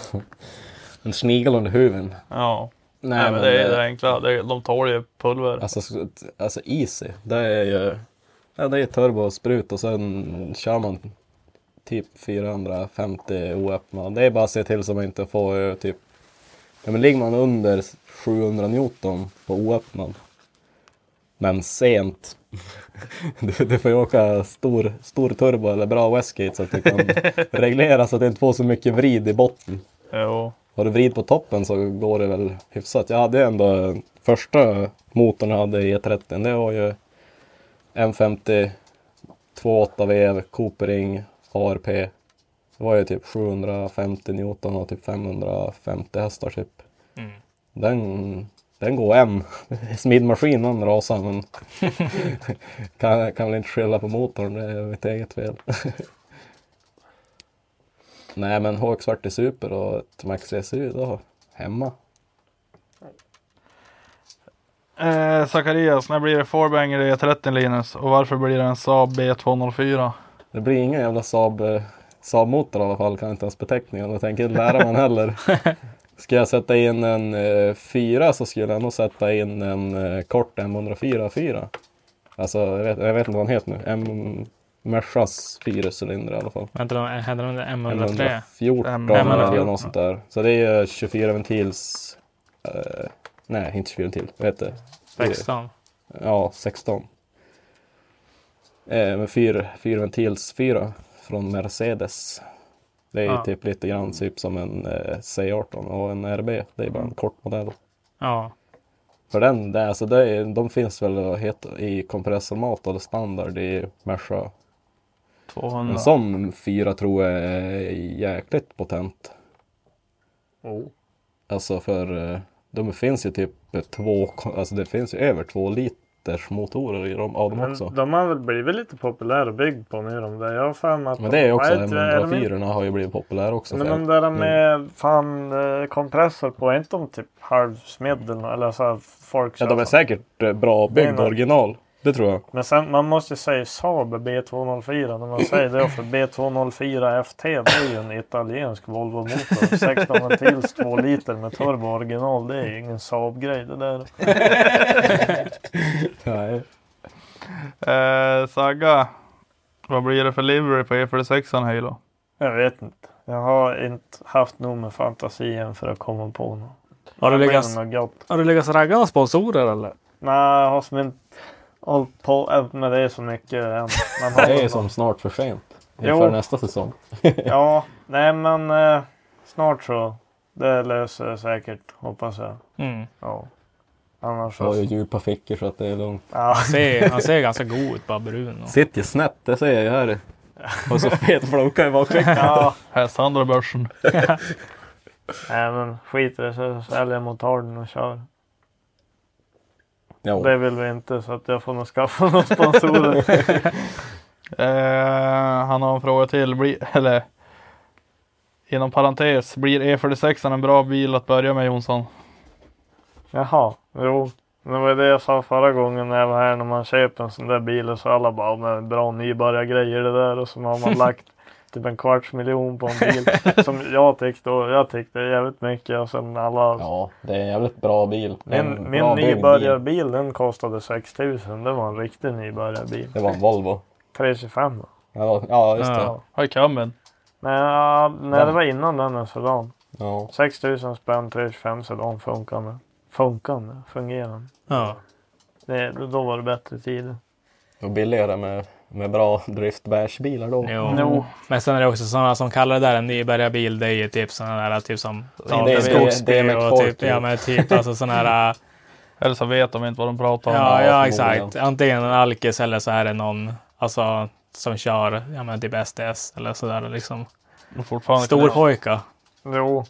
[SPEAKER 4] En snigel under huven.
[SPEAKER 2] Ja.
[SPEAKER 4] Nej,
[SPEAKER 2] Nej,
[SPEAKER 4] men
[SPEAKER 2] men det är
[SPEAKER 4] det-
[SPEAKER 2] det enkla. Det, de tål ju pulver.
[SPEAKER 4] Alltså, så- alltså easy. Det är ju ja, det är turbo och sprut och sen kör man typ 450 oöppnad. Det är bara att se till så man inte får eh, typ... Ja, men ligger man under 700 Newton på oöppnad. Men sent. Du, du får ju åka stor, stor turbo eller bra Westgate så att du kan reglera så att det inte får så mycket vrid i botten.
[SPEAKER 2] Jo.
[SPEAKER 4] Har du vrid på toppen så går det väl hyfsat. Jag hade ju ändå första motorn jag hade i E30. Det var ju M50 2.8 vev, Coopering, ARP. Det var ju typ 750 Newton och typ 550 hästar typ.
[SPEAKER 3] Mm.
[SPEAKER 4] Den, den går hem. Smidmaskin den rasar men kan, kan väl inte skylla på motorn. Det är mitt eget fel. Nej men HX40 Super och ett Max 3 SU då hemma.
[SPEAKER 2] Eh, Zacharias, när blir det fourbanger i E30 Linus? Och varför blir det en Saab B204?
[SPEAKER 4] Det blir ingen jävla Saab, eh, Saab-motor i alla fall, kan jag inte ens beteckningen. Jag tänker inte lära mig den heller. Ska jag sätta in en eh, 4 så skulle jag nog sätta in en eh, kort M104 4. Alltså jag vet, jag vet inte vad den heter nu. M Mercas fyracylindrar i alla fall.
[SPEAKER 3] Vänta, de- hade de det M103?
[SPEAKER 4] 114 eller något sånt där. Så det är ju 24 ventils... Eh, nej, inte 24 ventil. Vad heter det?
[SPEAKER 3] 16.
[SPEAKER 4] Ja, 16. Eh, men fyr, fyrventils fyra från Mercedes. Det är ju
[SPEAKER 3] Ja.
[SPEAKER 4] typ lite grann typ som en eh, C18 och en RB. Det är bara en kort modell.
[SPEAKER 3] Mm. Ja.
[SPEAKER 4] För den, det, alltså det är, de finns väl vad heter, i kompressormat eller standard i Merca.
[SPEAKER 2] 200.
[SPEAKER 4] En sån fyra tror jag är jäkligt potent.
[SPEAKER 1] Oh.
[SPEAKER 4] Alltså för eh, de finns ju typ två, alltså det finns ju över två liters motorer i dem, av dem
[SPEAKER 1] Men
[SPEAKER 4] också.
[SPEAKER 1] de har väl blivit lite populära och byggd på nu de där. Jag har för mig att...
[SPEAKER 4] Men
[SPEAKER 1] de-
[SPEAKER 4] det är ju också,
[SPEAKER 1] Nej, inte- är de inte-
[SPEAKER 4] M104 har ju blivit populär också.
[SPEAKER 1] Men
[SPEAKER 4] för-
[SPEAKER 1] de där
[SPEAKER 4] Mm.
[SPEAKER 1] med fan eh, kompressor på, är inte de typ halvsmed eller nå- eller så här folk
[SPEAKER 4] Ja, de är
[SPEAKER 1] köper?
[SPEAKER 4] säkert eh, bra
[SPEAKER 1] Det är
[SPEAKER 4] byggda
[SPEAKER 1] nog-
[SPEAKER 4] original. Det tror jag.
[SPEAKER 1] Men sen man måste ju säga Saab B204 när man säger det för B204 FT det är ju en italiensk Volvo motor. 16 ventils 2 liter med turbo original. Det är ju ingen Saab-grej det där.
[SPEAKER 4] Nej.
[SPEAKER 2] Eh, Sagga, vad blir det för livery på E46 an Halo?
[SPEAKER 1] Jag vet inte. Jag har inte haft nog med fantasin för att komma på något.
[SPEAKER 3] Har du
[SPEAKER 1] Det blir
[SPEAKER 3] lyckats-
[SPEAKER 1] nog gott.
[SPEAKER 3] Har du lyckats ragga några sponsorer eller?
[SPEAKER 1] Nej, jag har som inte hållit på med det så mycket än. Man har
[SPEAKER 4] Det är
[SPEAKER 1] väl
[SPEAKER 4] som snart för sent.
[SPEAKER 1] Jo.
[SPEAKER 4] Inför nästa säsong.
[SPEAKER 1] Ja, nej men eh, snart så. Det löser jag säkert, hoppas jag.
[SPEAKER 3] Mm.
[SPEAKER 1] Ja. Annars
[SPEAKER 4] Jag har ju
[SPEAKER 1] så...
[SPEAKER 4] djupa fickor så att det är lugnt.
[SPEAKER 1] Ja.
[SPEAKER 3] Han ser, han ser ganska god ut, bara brun. Och...
[SPEAKER 4] Sitter ju snett, det ser jag här. Och så fet flunka i bakfickan.
[SPEAKER 1] Ja,
[SPEAKER 2] Hästhandlare börsen.
[SPEAKER 1] nej men skit i det så säljer jag motarden och kör.
[SPEAKER 4] Jo.
[SPEAKER 1] Det vill vi inte så att jag får nog skaffa några sponsorer.
[SPEAKER 2] Eh, han har en fråga till. Blir, eller, inom parentes, blir E46 an en bra bil att börja med Jonsson?
[SPEAKER 1] Jaha, jo. Det var ju det jag sa förra gången när jag var här. När man köper en sån där bil och så alla bara men bra nybörjargrejer det där. Och så har man lagt typ en kvarts miljon på en bil. som jag tyckte då. Jag tyckte jävligt mycket. Och sen alla.
[SPEAKER 4] Ja, det är en jävligt bra bil. En
[SPEAKER 1] Alltså. min min
[SPEAKER 4] bra byggd bil.
[SPEAKER 1] nybörjarbil den kostade 6000. Det var en riktig nybörjarbil.
[SPEAKER 4] Det var en Volvo.
[SPEAKER 1] 325.
[SPEAKER 4] Ja, Ja, just det.
[SPEAKER 2] Har ju kammen.
[SPEAKER 1] Nej, ja, nej det var innan den här sedan.
[SPEAKER 4] Ja.
[SPEAKER 1] 6 000 spänn, 325 sedan funkar med. Funkar med, fungerar.
[SPEAKER 3] Ja.
[SPEAKER 1] Det, då var det bättre tid.
[SPEAKER 4] Och billigare med, med bra driftbärsbilar då.
[SPEAKER 3] Jo. Men sen är det också sådana som kallar det där en nybörjarbil. Det är ju typ sådana där typ som
[SPEAKER 4] det är- det är med
[SPEAKER 3] och
[SPEAKER 4] kork
[SPEAKER 3] typ, ja,
[SPEAKER 4] i.
[SPEAKER 3] men typ alltså sådana här.
[SPEAKER 2] Eller så vet de inte vad de pratar om.
[SPEAKER 3] Ja, ja exakt. Antingen en alkis eller så är det någon alltså, som kör ja, men typ SDS eller sådär liksom.
[SPEAKER 2] Fortfarande
[SPEAKER 3] Stor pojka.
[SPEAKER 1] Jo.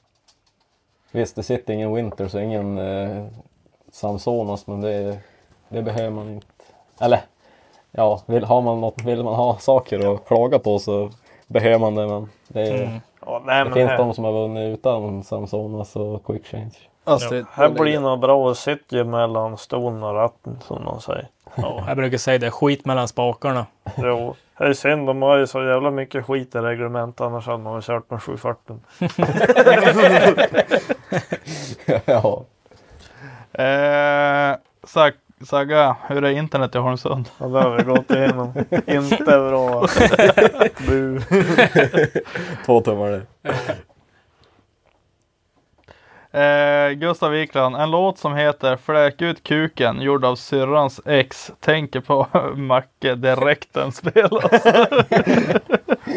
[SPEAKER 4] Visst, det sitter ingen Winters och ingen eh, Samsonos, men det, det behöver man inte. Eller, ja, vill, har man något, vill man ha saker att klaga på så behöver man det. Men det,
[SPEAKER 1] Mm. Ja, nej,
[SPEAKER 4] det
[SPEAKER 1] men
[SPEAKER 4] finns
[SPEAKER 1] här-
[SPEAKER 4] de som har vunnit utan Samsonos och Quick Change.
[SPEAKER 1] Ja, här blir något bra att sitta mellan stolen och ratten som man säger.
[SPEAKER 3] Jag brukar säga det, skit mellan spakarna.
[SPEAKER 1] Jo, det är synd. De har ju så jävla mycket skit i reglementet annars hade man väl kört med 740.
[SPEAKER 4] ja.
[SPEAKER 2] Eh, Sag, Saga, hur är internet i Holmsund?
[SPEAKER 1] Ja, det har vi gått igenom. Inte bra. Bu.
[SPEAKER 4] Två tummar det.
[SPEAKER 2] Eh, Gustav Wikland, en låt som heter Fläk ut kuken gjord av syrrans ex. Tänker på Macke direkt den spelas.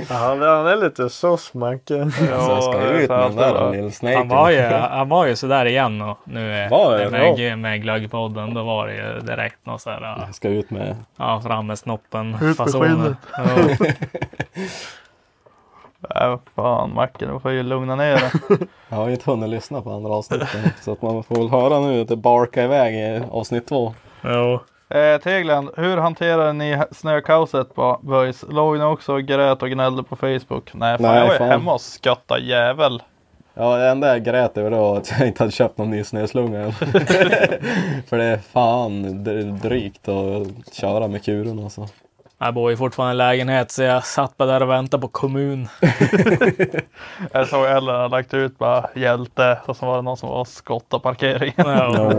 [SPEAKER 1] Ja, han han är lite sus Macke.
[SPEAKER 4] Så jag ska
[SPEAKER 3] det är
[SPEAKER 4] ut
[SPEAKER 3] så
[SPEAKER 4] med den
[SPEAKER 3] alltid
[SPEAKER 4] där
[SPEAKER 3] bra.
[SPEAKER 4] lilla snaken.
[SPEAKER 3] Han var, ju, han var ju sådär igen och nu är
[SPEAKER 4] Var det?
[SPEAKER 3] med, med, med glöggpodden. Då var det ju direkt något sådär.
[SPEAKER 4] Jag ska ut med...
[SPEAKER 3] Ja, fram med snoppen.
[SPEAKER 2] med
[SPEAKER 3] fasoner.
[SPEAKER 2] skinnet. Nej, Äh, fan Macke, du får ju lugna ner dig.
[SPEAKER 4] Jag har ju inte hunnit lyssna på andra avsnittet. så att man får väl höra nu att det barkar iväg i avsnitt två.
[SPEAKER 3] Jo.
[SPEAKER 2] Eh, Tegland, hur hanterade ni snökaoset på Böjs? Låg ni också och grät och gnällde på Facebook? Nej, fan,
[SPEAKER 4] Nej,
[SPEAKER 2] jag var ju
[SPEAKER 4] fan.
[SPEAKER 2] hemma och skötta jävel.
[SPEAKER 4] Ja, det enda jag grät över då var att jag inte hade köpt någon ny snöslunga än. För det är fan dr- drygt att köra med kuren alltså.
[SPEAKER 3] Jag bor ju fortfarande i lägenhet så jag satt bara där och väntade på kommun.
[SPEAKER 2] Jag såg Ellen hade lagt ut bara hjälte och så var det någon som var och skottade parkeringen.
[SPEAKER 4] Ja.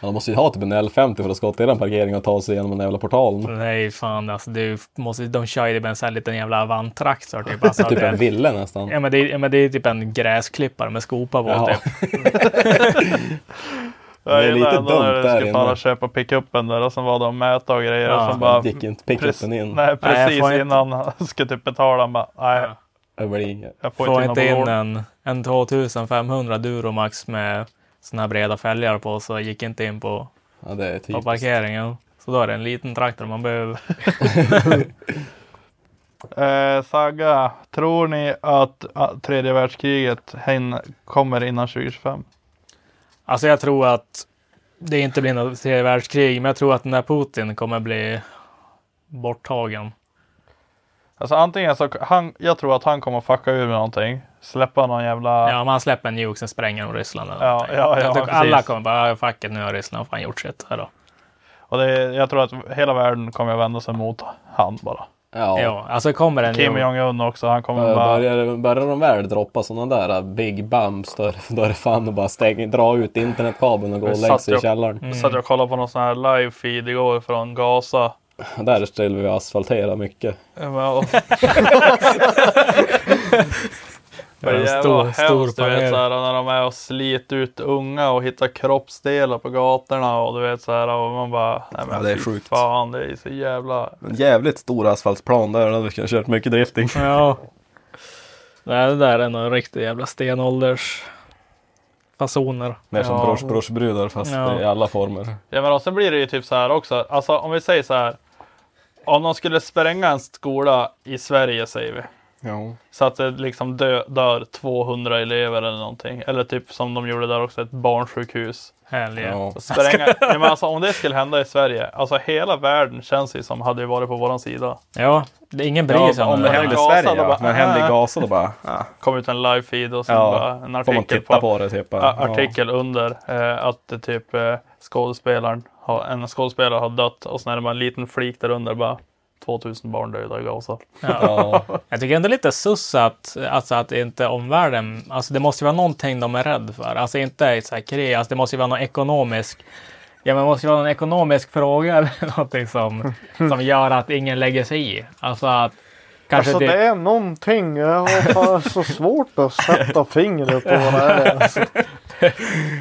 [SPEAKER 4] Man måste ju ha typ en L50 för att skotta i den parkeringen och ta sig igenom den jävla portalen.
[SPEAKER 3] Nej, fan alltså. Du måste, de kör ju det med en sån här liten jävla avanttraktor. Typ, alltså,
[SPEAKER 4] typ
[SPEAKER 3] det är-
[SPEAKER 4] en ville nästan.
[SPEAKER 3] Ja men, det, är- ja men det är typ en gräsklippare med skopa på.
[SPEAKER 4] Jaha.
[SPEAKER 3] Typ.
[SPEAKER 4] Det är
[SPEAKER 2] Jag gillar
[SPEAKER 4] lite
[SPEAKER 2] ändå
[SPEAKER 4] dumt
[SPEAKER 2] när du
[SPEAKER 4] där
[SPEAKER 2] skulle
[SPEAKER 4] inne.
[SPEAKER 2] bara köpa pickuppen där och sen var det och mäta och grejer.
[SPEAKER 4] Ja,
[SPEAKER 2] och sen bara,
[SPEAKER 4] det gick inte pickuppen in.
[SPEAKER 2] Nej,
[SPEAKER 4] Nej, jag
[SPEAKER 2] precis
[SPEAKER 4] får inte-
[SPEAKER 2] innan han skulle typ betala. Han bara, nej,
[SPEAKER 4] Det blir inget.
[SPEAKER 2] jag får,
[SPEAKER 3] Får
[SPEAKER 2] inte
[SPEAKER 3] inte
[SPEAKER 2] in
[SPEAKER 3] in
[SPEAKER 2] någon in
[SPEAKER 3] en, en 2500 Duromax med såna här breda fälgar på så gick inte in på,
[SPEAKER 4] Ja, det är
[SPEAKER 3] på
[SPEAKER 4] typiskt.
[SPEAKER 3] parkeringen. Så då är det en liten traktor man behöver.
[SPEAKER 2] eh, Saga, tror ni att ah, tredje världskriget hin- kommer innan 2025?
[SPEAKER 3] Alltså jag tror att det inte blir något tredje världskrig, men jag tror att den där Putin kommer bli borttagen.
[SPEAKER 2] Alltså antingen så, han, jag tror att han kommer fucka ur med någonting. Släppa någon jävla...
[SPEAKER 3] Ja, om han släpper en nuke, sen spränger de Ryssland eller
[SPEAKER 2] Ja,
[SPEAKER 3] någonting.
[SPEAKER 2] ja, ja,
[SPEAKER 3] jag tycker
[SPEAKER 2] precis.
[SPEAKER 3] alla kommer bara, "Ah, fuck it, nu har Ryssland fan gjort sitt. Här då.
[SPEAKER 2] Och det, jag tror att hela världen kommer att vända sig mot han bara.
[SPEAKER 4] Ja.
[SPEAKER 3] Ja, alltså kommer den
[SPEAKER 2] Kim
[SPEAKER 3] nuke-
[SPEAKER 2] Jong-Un också, han kommer bara...
[SPEAKER 4] Börjar, börjar de väl droppa sådana där äh, big bumps då är det- då är det fan att bara stäng, dra ut internetkabeln och gå
[SPEAKER 2] Vi
[SPEAKER 4] och lägga
[SPEAKER 2] satt
[SPEAKER 4] sig i
[SPEAKER 2] ju-
[SPEAKER 4] källaren.
[SPEAKER 3] Mm.
[SPEAKER 2] Satt jag och kollade på någon sån här live feed igår från Gaza.
[SPEAKER 4] Där skulle vi asfaltera mycket.
[SPEAKER 2] Ja, men, och-
[SPEAKER 3] var en
[SPEAKER 2] Vad jävla
[SPEAKER 3] stor-
[SPEAKER 2] hemskt,
[SPEAKER 3] stor
[SPEAKER 2] du vet
[SPEAKER 3] panel.
[SPEAKER 2] så här, när de är och sliter ut unga och hittar kroppsdelar på gatorna och du vet så här och man bara nej men
[SPEAKER 4] Ja, det är
[SPEAKER 2] fy
[SPEAKER 4] sjukt.
[SPEAKER 2] fan det är så jävla
[SPEAKER 4] En jävligt stor asfaltsplan där, då hade vi kunnat kört mycket drifting.
[SPEAKER 3] Ja. Nej, det där är nog riktigt jävla stenålders fasoner.
[SPEAKER 4] Mer som
[SPEAKER 2] Ja.
[SPEAKER 4] brors brorsbrudar fast
[SPEAKER 3] Ja.
[SPEAKER 4] i alla former.
[SPEAKER 2] Ja men och sen blir det ju typ så här också. Alltså om vi säger så här. Om de skulle spränga en skola i Sverige säger vi.
[SPEAKER 4] Ja.
[SPEAKER 2] Så att det liksom dö, dör 200 elever eller någonting. Eller typ som de gjorde där också, ett barnsjukhus.
[SPEAKER 3] Härliga.
[SPEAKER 4] Ja.
[SPEAKER 2] Spränga. ja, men alltså, om det skulle hända i Sverige. Alltså hela världen känns ju som hade ju varit på våran sida.
[SPEAKER 3] Ja, det, ingen bryr sig om det.
[SPEAKER 2] händer i Gaza, då bara, äh.
[SPEAKER 4] Gaza då bara,
[SPEAKER 2] Kom ut en live feed och sen
[SPEAKER 4] Ja,
[SPEAKER 2] bara en
[SPEAKER 4] får man
[SPEAKER 2] artikel
[SPEAKER 4] titta på,
[SPEAKER 2] på,
[SPEAKER 4] det typ.
[SPEAKER 2] a- artikel under eh, att det typ eh, skådespelaren har, en skådespelare har dött och sen är det bara en liten flik där under bara 2000 barn döda i Gaza.
[SPEAKER 4] Ja. Ja.
[SPEAKER 3] Jag tycker ändå lite sus att, alltså att inte omvärlden, alltså det måste ju vara någonting de är rädd för. Alltså inte ett så här krig, alltså det måste ju vara någon ekonomisk, ja men det måste ju vara någon ekonomisk fråga eller någonting som, som gör att ingen lägger sig i. Alltså att Kanske
[SPEAKER 1] alltså det...
[SPEAKER 3] det-
[SPEAKER 1] är någonting. Jag har fan så svårt att sätta fingret på vad det är. Alltså.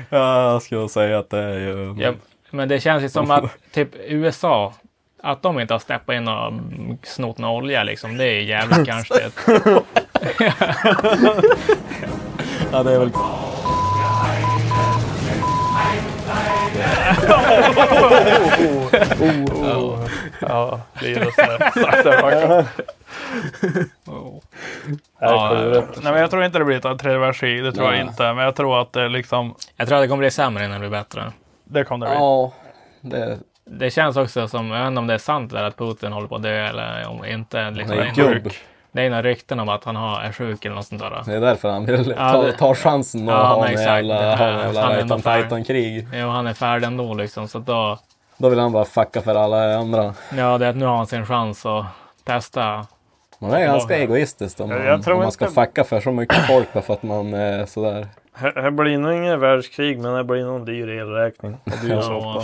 [SPEAKER 4] Ja, jag skulle säga att det är ju...
[SPEAKER 3] Ja, men det känns ju som att typ USA, att de inte har steppat in och mm, snott någon olja liksom, det är ju jävligt konstigt.
[SPEAKER 4] Ja, det är väl...
[SPEAKER 2] Ja, det är ju så
[SPEAKER 3] Ja, ja.
[SPEAKER 2] Nej, men jag tror inte det blir ett trevärsi, det tror jag
[SPEAKER 3] Nej.
[SPEAKER 2] inte. Men jag tror att det liksom...
[SPEAKER 3] Jag tror att det kommer bli sämre innan det blir bättre.
[SPEAKER 2] Det kommer det bli.
[SPEAKER 4] Ja, det...
[SPEAKER 3] känns också som, jag vet inte om det är sant där att Putin håller på att dö eller om inte. Liksom,
[SPEAKER 4] Han är
[SPEAKER 3] det, är några,
[SPEAKER 4] gubb.
[SPEAKER 3] det är några rykten om att han har, är sjuk eller något sånt där.
[SPEAKER 4] Det är därför han vill
[SPEAKER 3] Ja,
[SPEAKER 4] ta,
[SPEAKER 3] det-
[SPEAKER 4] ta chansen och
[SPEAKER 3] Ja,
[SPEAKER 4] ha
[SPEAKER 3] men
[SPEAKER 4] en
[SPEAKER 3] exakt.
[SPEAKER 4] jävla, ha en
[SPEAKER 3] Han
[SPEAKER 4] jävla
[SPEAKER 3] är
[SPEAKER 4] right
[SPEAKER 3] ändå
[SPEAKER 4] on
[SPEAKER 3] färdig.
[SPEAKER 4] titan-krig.
[SPEAKER 3] Jo, han är färdig ändå liksom, så att då,
[SPEAKER 4] Då vill han bara fucka för alla andra.
[SPEAKER 3] ja, det är att nu har han sin chans att testa.
[SPEAKER 4] Man är ganska egoistisk om
[SPEAKER 1] Jag-
[SPEAKER 4] man,
[SPEAKER 1] jag tror
[SPEAKER 4] om man ska
[SPEAKER 1] inte-
[SPEAKER 4] fucka för så mycket folk bara för att man är sådär.
[SPEAKER 1] Här, här blir nog ingen världskrig men det blir nog en dyr elräkning. Och dyr
[SPEAKER 4] Ja.
[SPEAKER 1] soppa.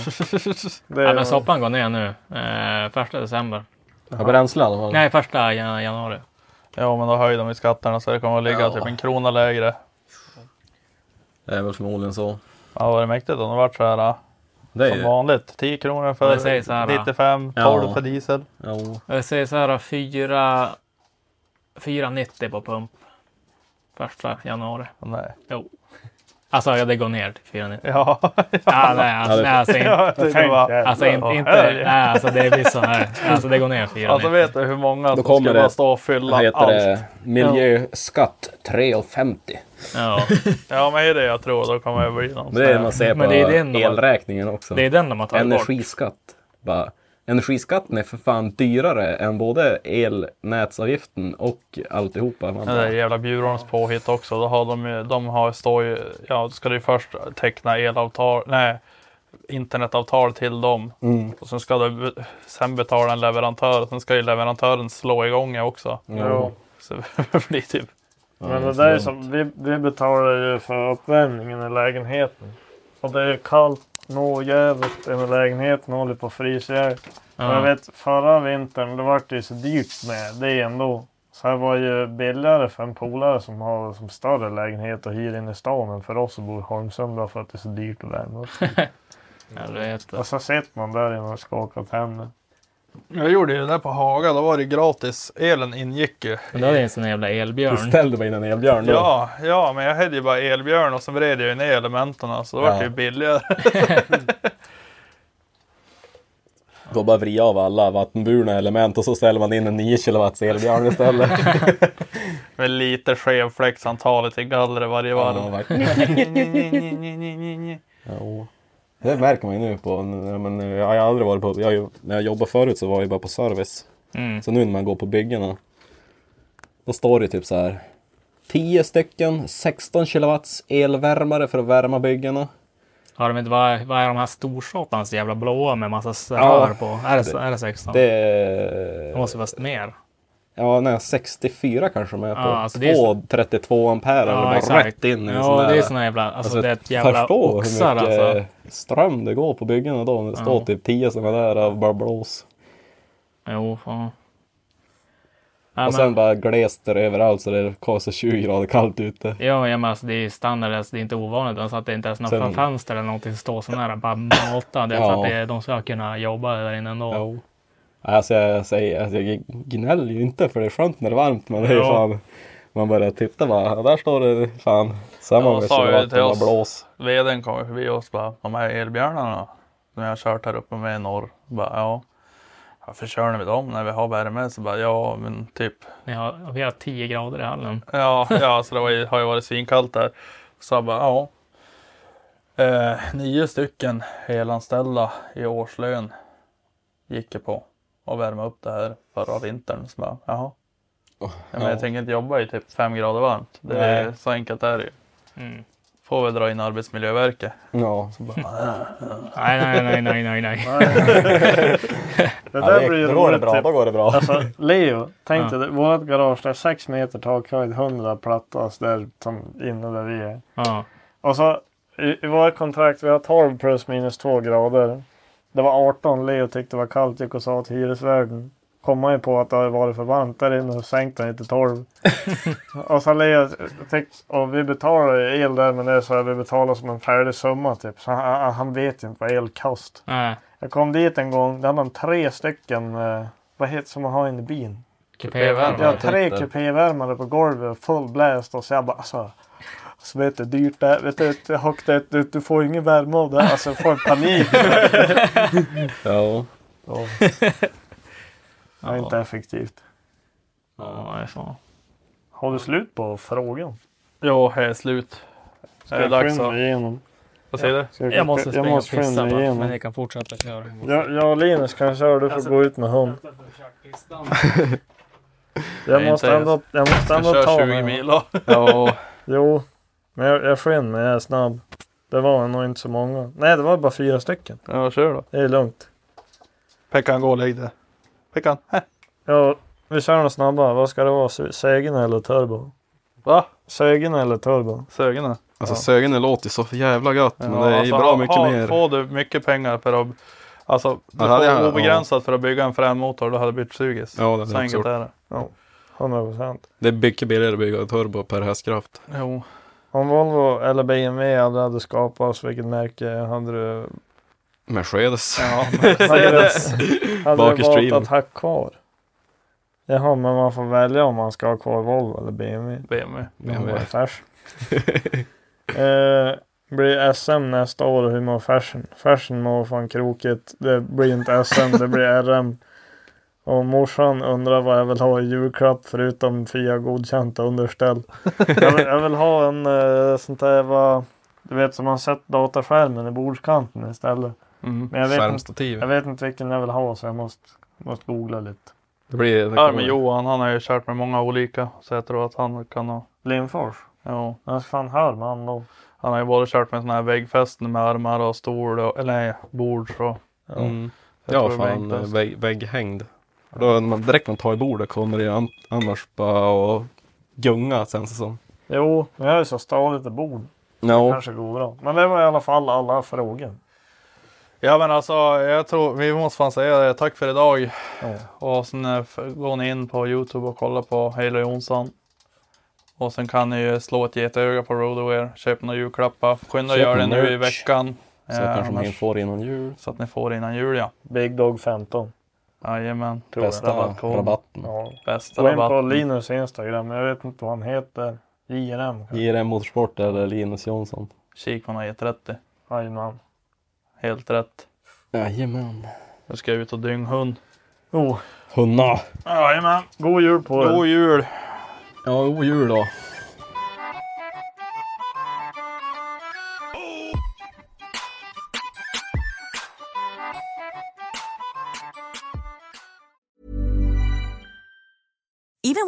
[SPEAKER 1] Det
[SPEAKER 3] Ja,
[SPEAKER 1] är-
[SPEAKER 3] men soppan går ner nu, eh, första december.
[SPEAKER 4] Ja, bränsle i alla fall.
[SPEAKER 3] Nej, första jan- januari.
[SPEAKER 2] Ja, men då höjer de ju skatterna så det kommer att ligga
[SPEAKER 3] Ja.
[SPEAKER 2] typ en krona lägre.
[SPEAKER 4] Det är väl förmodligen så.
[SPEAKER 2] Ja, var det mäktigt om det vart så här.
[SPEAKER 4] Det är
[SPEAKER 2] som
[SPEAKER 4] ju-
[SPEAKER 2] vanligt, 10 kronor för
[SPEAKER 3] Det sägs här, ja.
[SPEAKER 2] 95, 12
[SPEAKER 3] Ja.
[SPEAKER 2] för diesel.
[SPEAKER 4] Jo.
[SPEAKER 3] Jag säger så här, fyra- 4,90 på pump. Första januari.
[SPEAKER 2] Nej.
[SPEAKER 3] Jo. Alltså, ja, det går ner till 4,90.
[SPEAKER 2] Ja.
[SPEAKER 3] Ah, nej, alltså, nej, alltså, inte,
[SPEAKER 2] Ja, jag tänkte bara-
[SPEAKER 3] alltså, inte,
[SPEAKER 2] Ja,
[SPEAKER 3] inte,
[SPEAKER 2] herregud.
[SPEAKER 3] nej, alltså det blir så här. Alltså, det går ner 4,90.
[SPEAKER 2] Alltså vet du hur många
[SPEAKER 4] Då
[SPEAKER 2] som
[SPEAKER 4] kommer
[SPEAKER 2] ska bara
[SPEAKER 4] det,
[SPEAKER 2] stå och fylla
[SPEAKER 4] vad heter det,
[SPEAKER 2] allt?
[SPEAKER 4] miljöskatt 3,50.
[SPEAKER 3] Ja.
[SPEAKER 2] ja, men det är det jag tror. Då kommer det bli någon
[SPEAKER 4] Det är det man ser på
[SPEAKER 3] Men det är den de har-
[SPEAKER 4] elräkningen också.
[SPEAKER 3] det är den de har tagit bort.
[SPEAKER 4] Energiskatt. Bara. Energiskatten är för fan dyrare än både elnätsavgiften och alltihopa. Man
[SPEAKER 2] Ja, det är jävla Bjurholms påhitt också. Då har de ju, de har, står ju, ja då ska du först teckna elavtal, nej internetavtal till dem.
[SPEAKER 4] Mm.
[SPEAKER 2] Och sen ska du be- sen betala en leverantör. Sen ska ju leverantören slå igång det också.
[SPEAKER 4] Mm.
[SPEAKER 1] Ja.
[SPEAKER 2] Så det blir typ.
[SPEAKER 1] Men det där är som, vi, vi betalar ju för uppvärmningen i lägenheten. Och det är ju kallt nå jävligt i lägenheten och håller på att frysa ihjäl. Och
[SPEAKER 9] Ja.
[SPEAKER 1] Jag vet förra vintern, det vart det ju så dyrt med det ändå. Så här var ju billigare för en polare som har som större lägenhet och hyr in i stan än för oss som bor i Holmsund bara för att det är så dyrt att värma upp. och så sitter man där inne och skakar tänder.
[SPEAKER 2] Jag gjorde ju det där på Haga. Då var det gratis. Elen ingick ju.
[SPEAKER 3] Men då är det en sån jävla elbjörn.
[SPEAKER 4] Du ställde mig innan elbjörn då.
[SPEAKER 2] Ja, ja, men jag hade ju bara elbjörn och sen vred jag ju ner elementen så då
[SPEAKER 4] Ja.
[SPEAKER 2] vart det ju billigare.
[SPEAKER 4] Då bara vrida av alla vattenburna element och så ställer man in en 9 kilowatts elbjörn istället.
[SPEAKER 2] Med lite skevfläktsantalet i gallret varje varv.
[SPEAKER 4] Jo. Det märker man ju nu på, nu- men nu- jag har aldrig varit på, jag, har ju- när jag jobbade förut så var jag ju bara på service.
[SPEAKER 3] Mm.
[SPEAKER 4] Så nu när man går på byggena, då står det typ så här 10 stycken 16 kilowatts elvärmare för att värma byggena.
[SPEAKER 3] Har de inte, vad, vad är de här storsåpans jävla blåa med massa rör
[SPEAKER 4] Ja.
[SPEAKER 3] på? Är det, är det 16?
[SPEAKER 4] Det är...
[SPEAKER 3] Det måste vara mer.
[SPEAKER 4] Ja, nej, 64 kanske de är på.
[SPEAKER 3] Ja, alltså det är
[SPEAKER 4] Två 32 ampere
[SPEAKER 3] Ja,
[SPEAKER 4] och bara
[SPEAKER 3] exakt.
[SPEAKER 4] rätt in i en
[SPEAKER 3] Ja,
[SPEAKER 4] sån där.
[SPEAKER 3] det är såna jävla- alltså, det är ett jävla
[SPEAKER 4] förstå
[SPEAKER 3] oxar,
[SPEAKER 4] hur mycket
[SPEAKER 3] alltså.
[SPEAKER 4] ström det går på byggena då. när Det står
[SPEAKER 3] Ja.
[SPEAKER 4] typ 10 sådana där av bara blås.
[SPEAKER 3] Jo, fan.
[SPEAKER 4] och
[SPEAKER 3] Ja, men,
[SPEAKER 4] sen bara glest där överallt så det kostar 20 grader kallt ute.
[SPEAKER 3] ja, ja, men alltså, det är standard, alltså, det är inte ovanligt ens att det inte ens är några
[SPEAKER 4] Sen-
[SPEAKER 3] fönster eller någonting som står så nära. Bara mata. Det är
[SPEAKER 4] Ja.
[SPEAKER 3] för att det, de ska kunna jobba där inne ändå.
[SPEAKER 4] Jo. Alltså jag säger, alltså, jag gnäller ju inte för det är skönt när det är varmt men det är ju
[SPEAKER 3] Ja.
[SPEAKER 4] fan. Man börjar titta bara, där står det fan samma
[SPEAKER 2] Ja,
[SPEAKER 4] med
[SPEAKER 2] sa ju
[SPEAKER 4] kilowatt
[SPEAKER 2] till
[SPEAKER 4] och
[SPEAKER 2] oss,
[SPEAKER 4] bara blås.
[SPEAKER 2] vdn kom förbi och bara, de här elbjörnarna som jag har kört här uppe med i norr. Bara, ja, varför kör ni med dem när vi har värme? Så bara, ja men typ,
[SPEAKER 3] Ni har, vi har 10 grader i hallen.
[SPEAKER 2] ja, ja så det var ju, har ju varit svinkallt där. Så jag bara, ja. Eh, nio stycken elanställda i årslön gick jag på och värma upp det här förra vintern. Så bara, jaha. Ja, men
[SPEAKER 4] Oh, ja.
[SPEAKER 2] jag tänker inte jobba i typ fem grader varmt. Det är,
[SPEAKER 4] Nej.
[SPEAKER 2] så enkelt är det ju.
[SPEAKER 3] Mm.
[SPEAKER 2] Får väl dra in Arbetsmiljöverket.
[SPEAKER 4] Ja.
[SPEAKER 2] Så bara,
[SPEAKER 3] Nej, nej, nej, nej, nej, nej.
[SPEAKER 1] Det där blir ju roligt, typ. Alltså,
[SPEAKER 4] Alltså,
[SPEAKER 1] Leo, tänk
[SPEAKER 3] Ja.
[SPEAKER 1] dig, vårt garage det är 6 meter takhöjd, 100 plattas alltså där som inne där vi är.
[SPEAKER 3] Ja.
[SPEAKER 1] Och så i, i vårt kontrakt, vi har 12 plus minus 2 grader. Det var 18, Leo tyckte det var kallt, gick och sa till hyresvärden. kom man ju på att det hade varit för varmt där inne och sänkte den till 12. och så lägger jag, tänk, och vi betalar ju el där men det är så här, vi betalar som en färdig summa typ. Så han, han vet ju inte vad el kost.
[SPEAKER 3] Nej.
[SPEAKER 1] Jag kom dit en gång, där hade han tre stycken, eh, vad heter som man har inne i bin?
[SPEAKER 3] Kupévärmare.
[SPEAKER 1] Jag har tre
[SPEAKER 3] Typ.
[SPEAKER 1] kupévärmare på golvet och full blast och så jag bara alltså. Så vet du, dyrt det är. vet du, ett högt det är. du, du får ju ingen värme av det här. Alltså jag får panik.
[SPEAKER 6] Ja.
[SPEAKER 1] Ja. Det är inte effektivt.
[SPEAKER 3] Ja, det är fan.
[SPEAKER 1] Har du slut på frågan?
[SPEAKER 2] Jo, här är slut.
[SPEAKER 1] Ska
[SPEAKER 2] är det
[SPEAKER 1] jag
[SPEAKER 2] dags
[SPEAKER 1] skynda
[SPEAKER 2] att-
[SPEAKER 1] mig igenom?
[SPEAKER 2] Vad säger du?
[SPEAKER 1] Ska jag måste skynda mig igenom.
[SPEAKER 3] men ni kan fortsätta köra.
[SPEAKER 1] Jag, jag och Linus kan köra, du får
[SPEAKER 3] Alltså,
[SPEAKER 1] gå ut med hund. jag,
[SPEAKER 2] Nej,
[SPEAKER 1] måste
[SPEAKER 2] inte
[SPEAKER 1] ändå,
[SPEAKER 2] ens.
[SPEAKER 1] jag måste
[SPEAKER 2] Jag
[SPEAKER 1] ändå
[SPEAKER 2] kör
[SPEAKER 1] ta
[SPEAKER 2] 20
[SPEAKER 1] mig.
[SPEAKER 2] mil då. Ja.
[SPEAKER 1] Jo, men jag, jag sken mig, jag är snabb. Det var nog inte så många. Nej, det var bara fyra stycken.
[SPEAKER 2] Ja, kör då.
[SPEAKER 1] Det är lugnt.
[SPEAKER 2] Pekkan, gå och lägg dig. Pekkan, här.
[SPEAKER 1] Ja, vi kör den snabba. Vad ska det vara? Sö- Sögen eller turbo?
[SPEAKER 2] Va?
[SPEAKER 1] Sögen eller turbo?
[SPEAKER 2] Sögen då.
[SPEAKER 7] Alltså
[SPEAKER 2] Ja.
[SPEAKER 7] sögen låter ju så jävla gött men
[SPEAKER 2] Ja,
[SPEAKER 7] det är ju
[SPEAKER 2] alltså,
[SPEAKER 7] bra
[SPEAKER 2] ha-
[SPEAKER 7] mycket
[SPEAKER 2] ha-
[SPEAKER 7] mer.
[SPEAKER 2] Får du mycket pengar för att... Alltså,
[SPEAKER 7] Ja,
[SPEAKER 2] du
[SPEAKER 7] det hade
[SPEAKER 2] får
[SPEAKER 7] jag-
[SPEAKER 2] obegränsat för att bygga en fränmotor, då hade du bytt sugis.
[SPEAKER 7] Ja, det hade
[SPEAKER 2] Så
[SPEAKER 7] jag också
[SPEAKER 2] enkelt
[SPEAKER 7] gjort.
[SPEAKER 2] är det.
[SPEAKER 1] Ja, 100 procent.
[SPEAKER 7] Det är mycket billigare att bygga turbo per hästkraft.
[SPEAKER 2] Jo.
[SPEAKER 1] Om Volvo eller BMW aldrig hade skapats, vilket märke hade du...
[SPEAKER 7] Mercedes.
[SPEAKER 2] Ja,
[SPEAKER 1] Hade du, hade du valt
[SPEAKER 7] Bakhjulsdriven.
[SPEAKER 1] att ha kvar? Jaha, men man får välja om man ska ha kvar Volvo eller BMW.
[SPEAKER 2] BMW.
[SPEAKER 1] BMW. Färs. eh, blir SM nästa år och hur mår fashion? Fashion mår fan krokigt. Det blir inte SM, det blir RM. Och morsan undrar vad jag vill ha i julklapp förutom Fia godkänt underställ. Jag vill, jag vill ha en eh, sånt där vad du vet som man sett dataskärmen i bordskanten istället.
[SPEAKER 2] Mm.
[SPEAKER 1] Men jag vet, inte,
[SPEAKER 7] Skärmstativ.
[SPEAKER 1] jag vet inte vilken jag vill ha så jag måste, måste googla lite.
[SPEAKER 7] Det blir... Det
[SPEAKER 2] Ja,
[SPEAKER 7] kommer-
[SPEAKER 2] men Johan, han har ju kört med många olika. Så jag tror att han kan ha...
[SPEAKER 1] Lindfors?
[SPEAKER 2] Jo.
[SPEAKER 1] Jag ska fan höra med honom då.
[SPEAKER 2] Han har ju både kört med sådana här väggfästen med armar och stol och... Eller nej, bord så.
[SPEAKER 7] Mm.
[SPEAKER 2] Jag
[SPEAKER 7] Ja,
[SPEAKER 2] tror det är enklast.
[SPEAKER 7] fan vägg, vägghängd. Och Då, när man, direkt man tar i bordet kommer det ju an, annars bara att gunga känns det som.
[SPEAKER 1] Jo, men jag är så stadigt i bord.
[SPEAKER 7] Ja.
[SPEAKER 1] Det kanske går bra. Men det var i alla fall alla frågor.
[SPEAKER 2] Ja men alltså jag tror vi måste fan säga det. Tack för idag.
[SPEAKER 1] Ja.
[SPEAKER 2] Och sen eh, f- går ni in på Youtube och kollar på Halo Jonsson. Och sen kan ni ju slå ett getöga på Roadaware. Köp några julklappar. Skynda och
[SPEAKER 6] Köp
[SPEAKER 2] gör det nu
[SPEAKER 6] merch.
[SPEAKER 2] i veckan.
[SPEAKER 6] Så
[SPEAKER 2] Eh,
[SPEAKER 6] kanske man
[SPEAKER 2] annars-
[SPEAKER 6] får innan jul.
[SPEAKER 2] så att ni får innan jul ja.
[SPEAKER 1] Big Dog 15.
[SPEAKER 2] Jajamän.
[SPEAKER 1] Tror jag.
[SPEAKER 6] Bästa rabatten.
[SPEAKER 2] Mm.
[SPEAKER 1] Ja.
[SPEAKER 2] Bästa
[SPEAKER 1] Gå in på
[SPEAKER 2] rabatten.
[SPEAKER 1] Linus Instagram. Jag vet inte vad han heter. JRM. kanske.
[SPEAKER 6] JRM Motorsport eller Linus Jonsson.
[SPEAKER 2] Kik på något E30.
[SPEAKER 1] Jajamän.
[SPEAKER 2] Helt rätt.
[SPEAKER 6] Jajamän.
[SPEAKER 2] Nu ska jag ut och dynghund.
[SPEAKER 1] Jo.
[SPEAKER 6] Hunna!
[SPEAKER 1] Jajamän. God jul på er.
[SPEAKER 2] God jul!
[SPEAKER 6] Ja, god jul då.
[SPEAKER 10] Even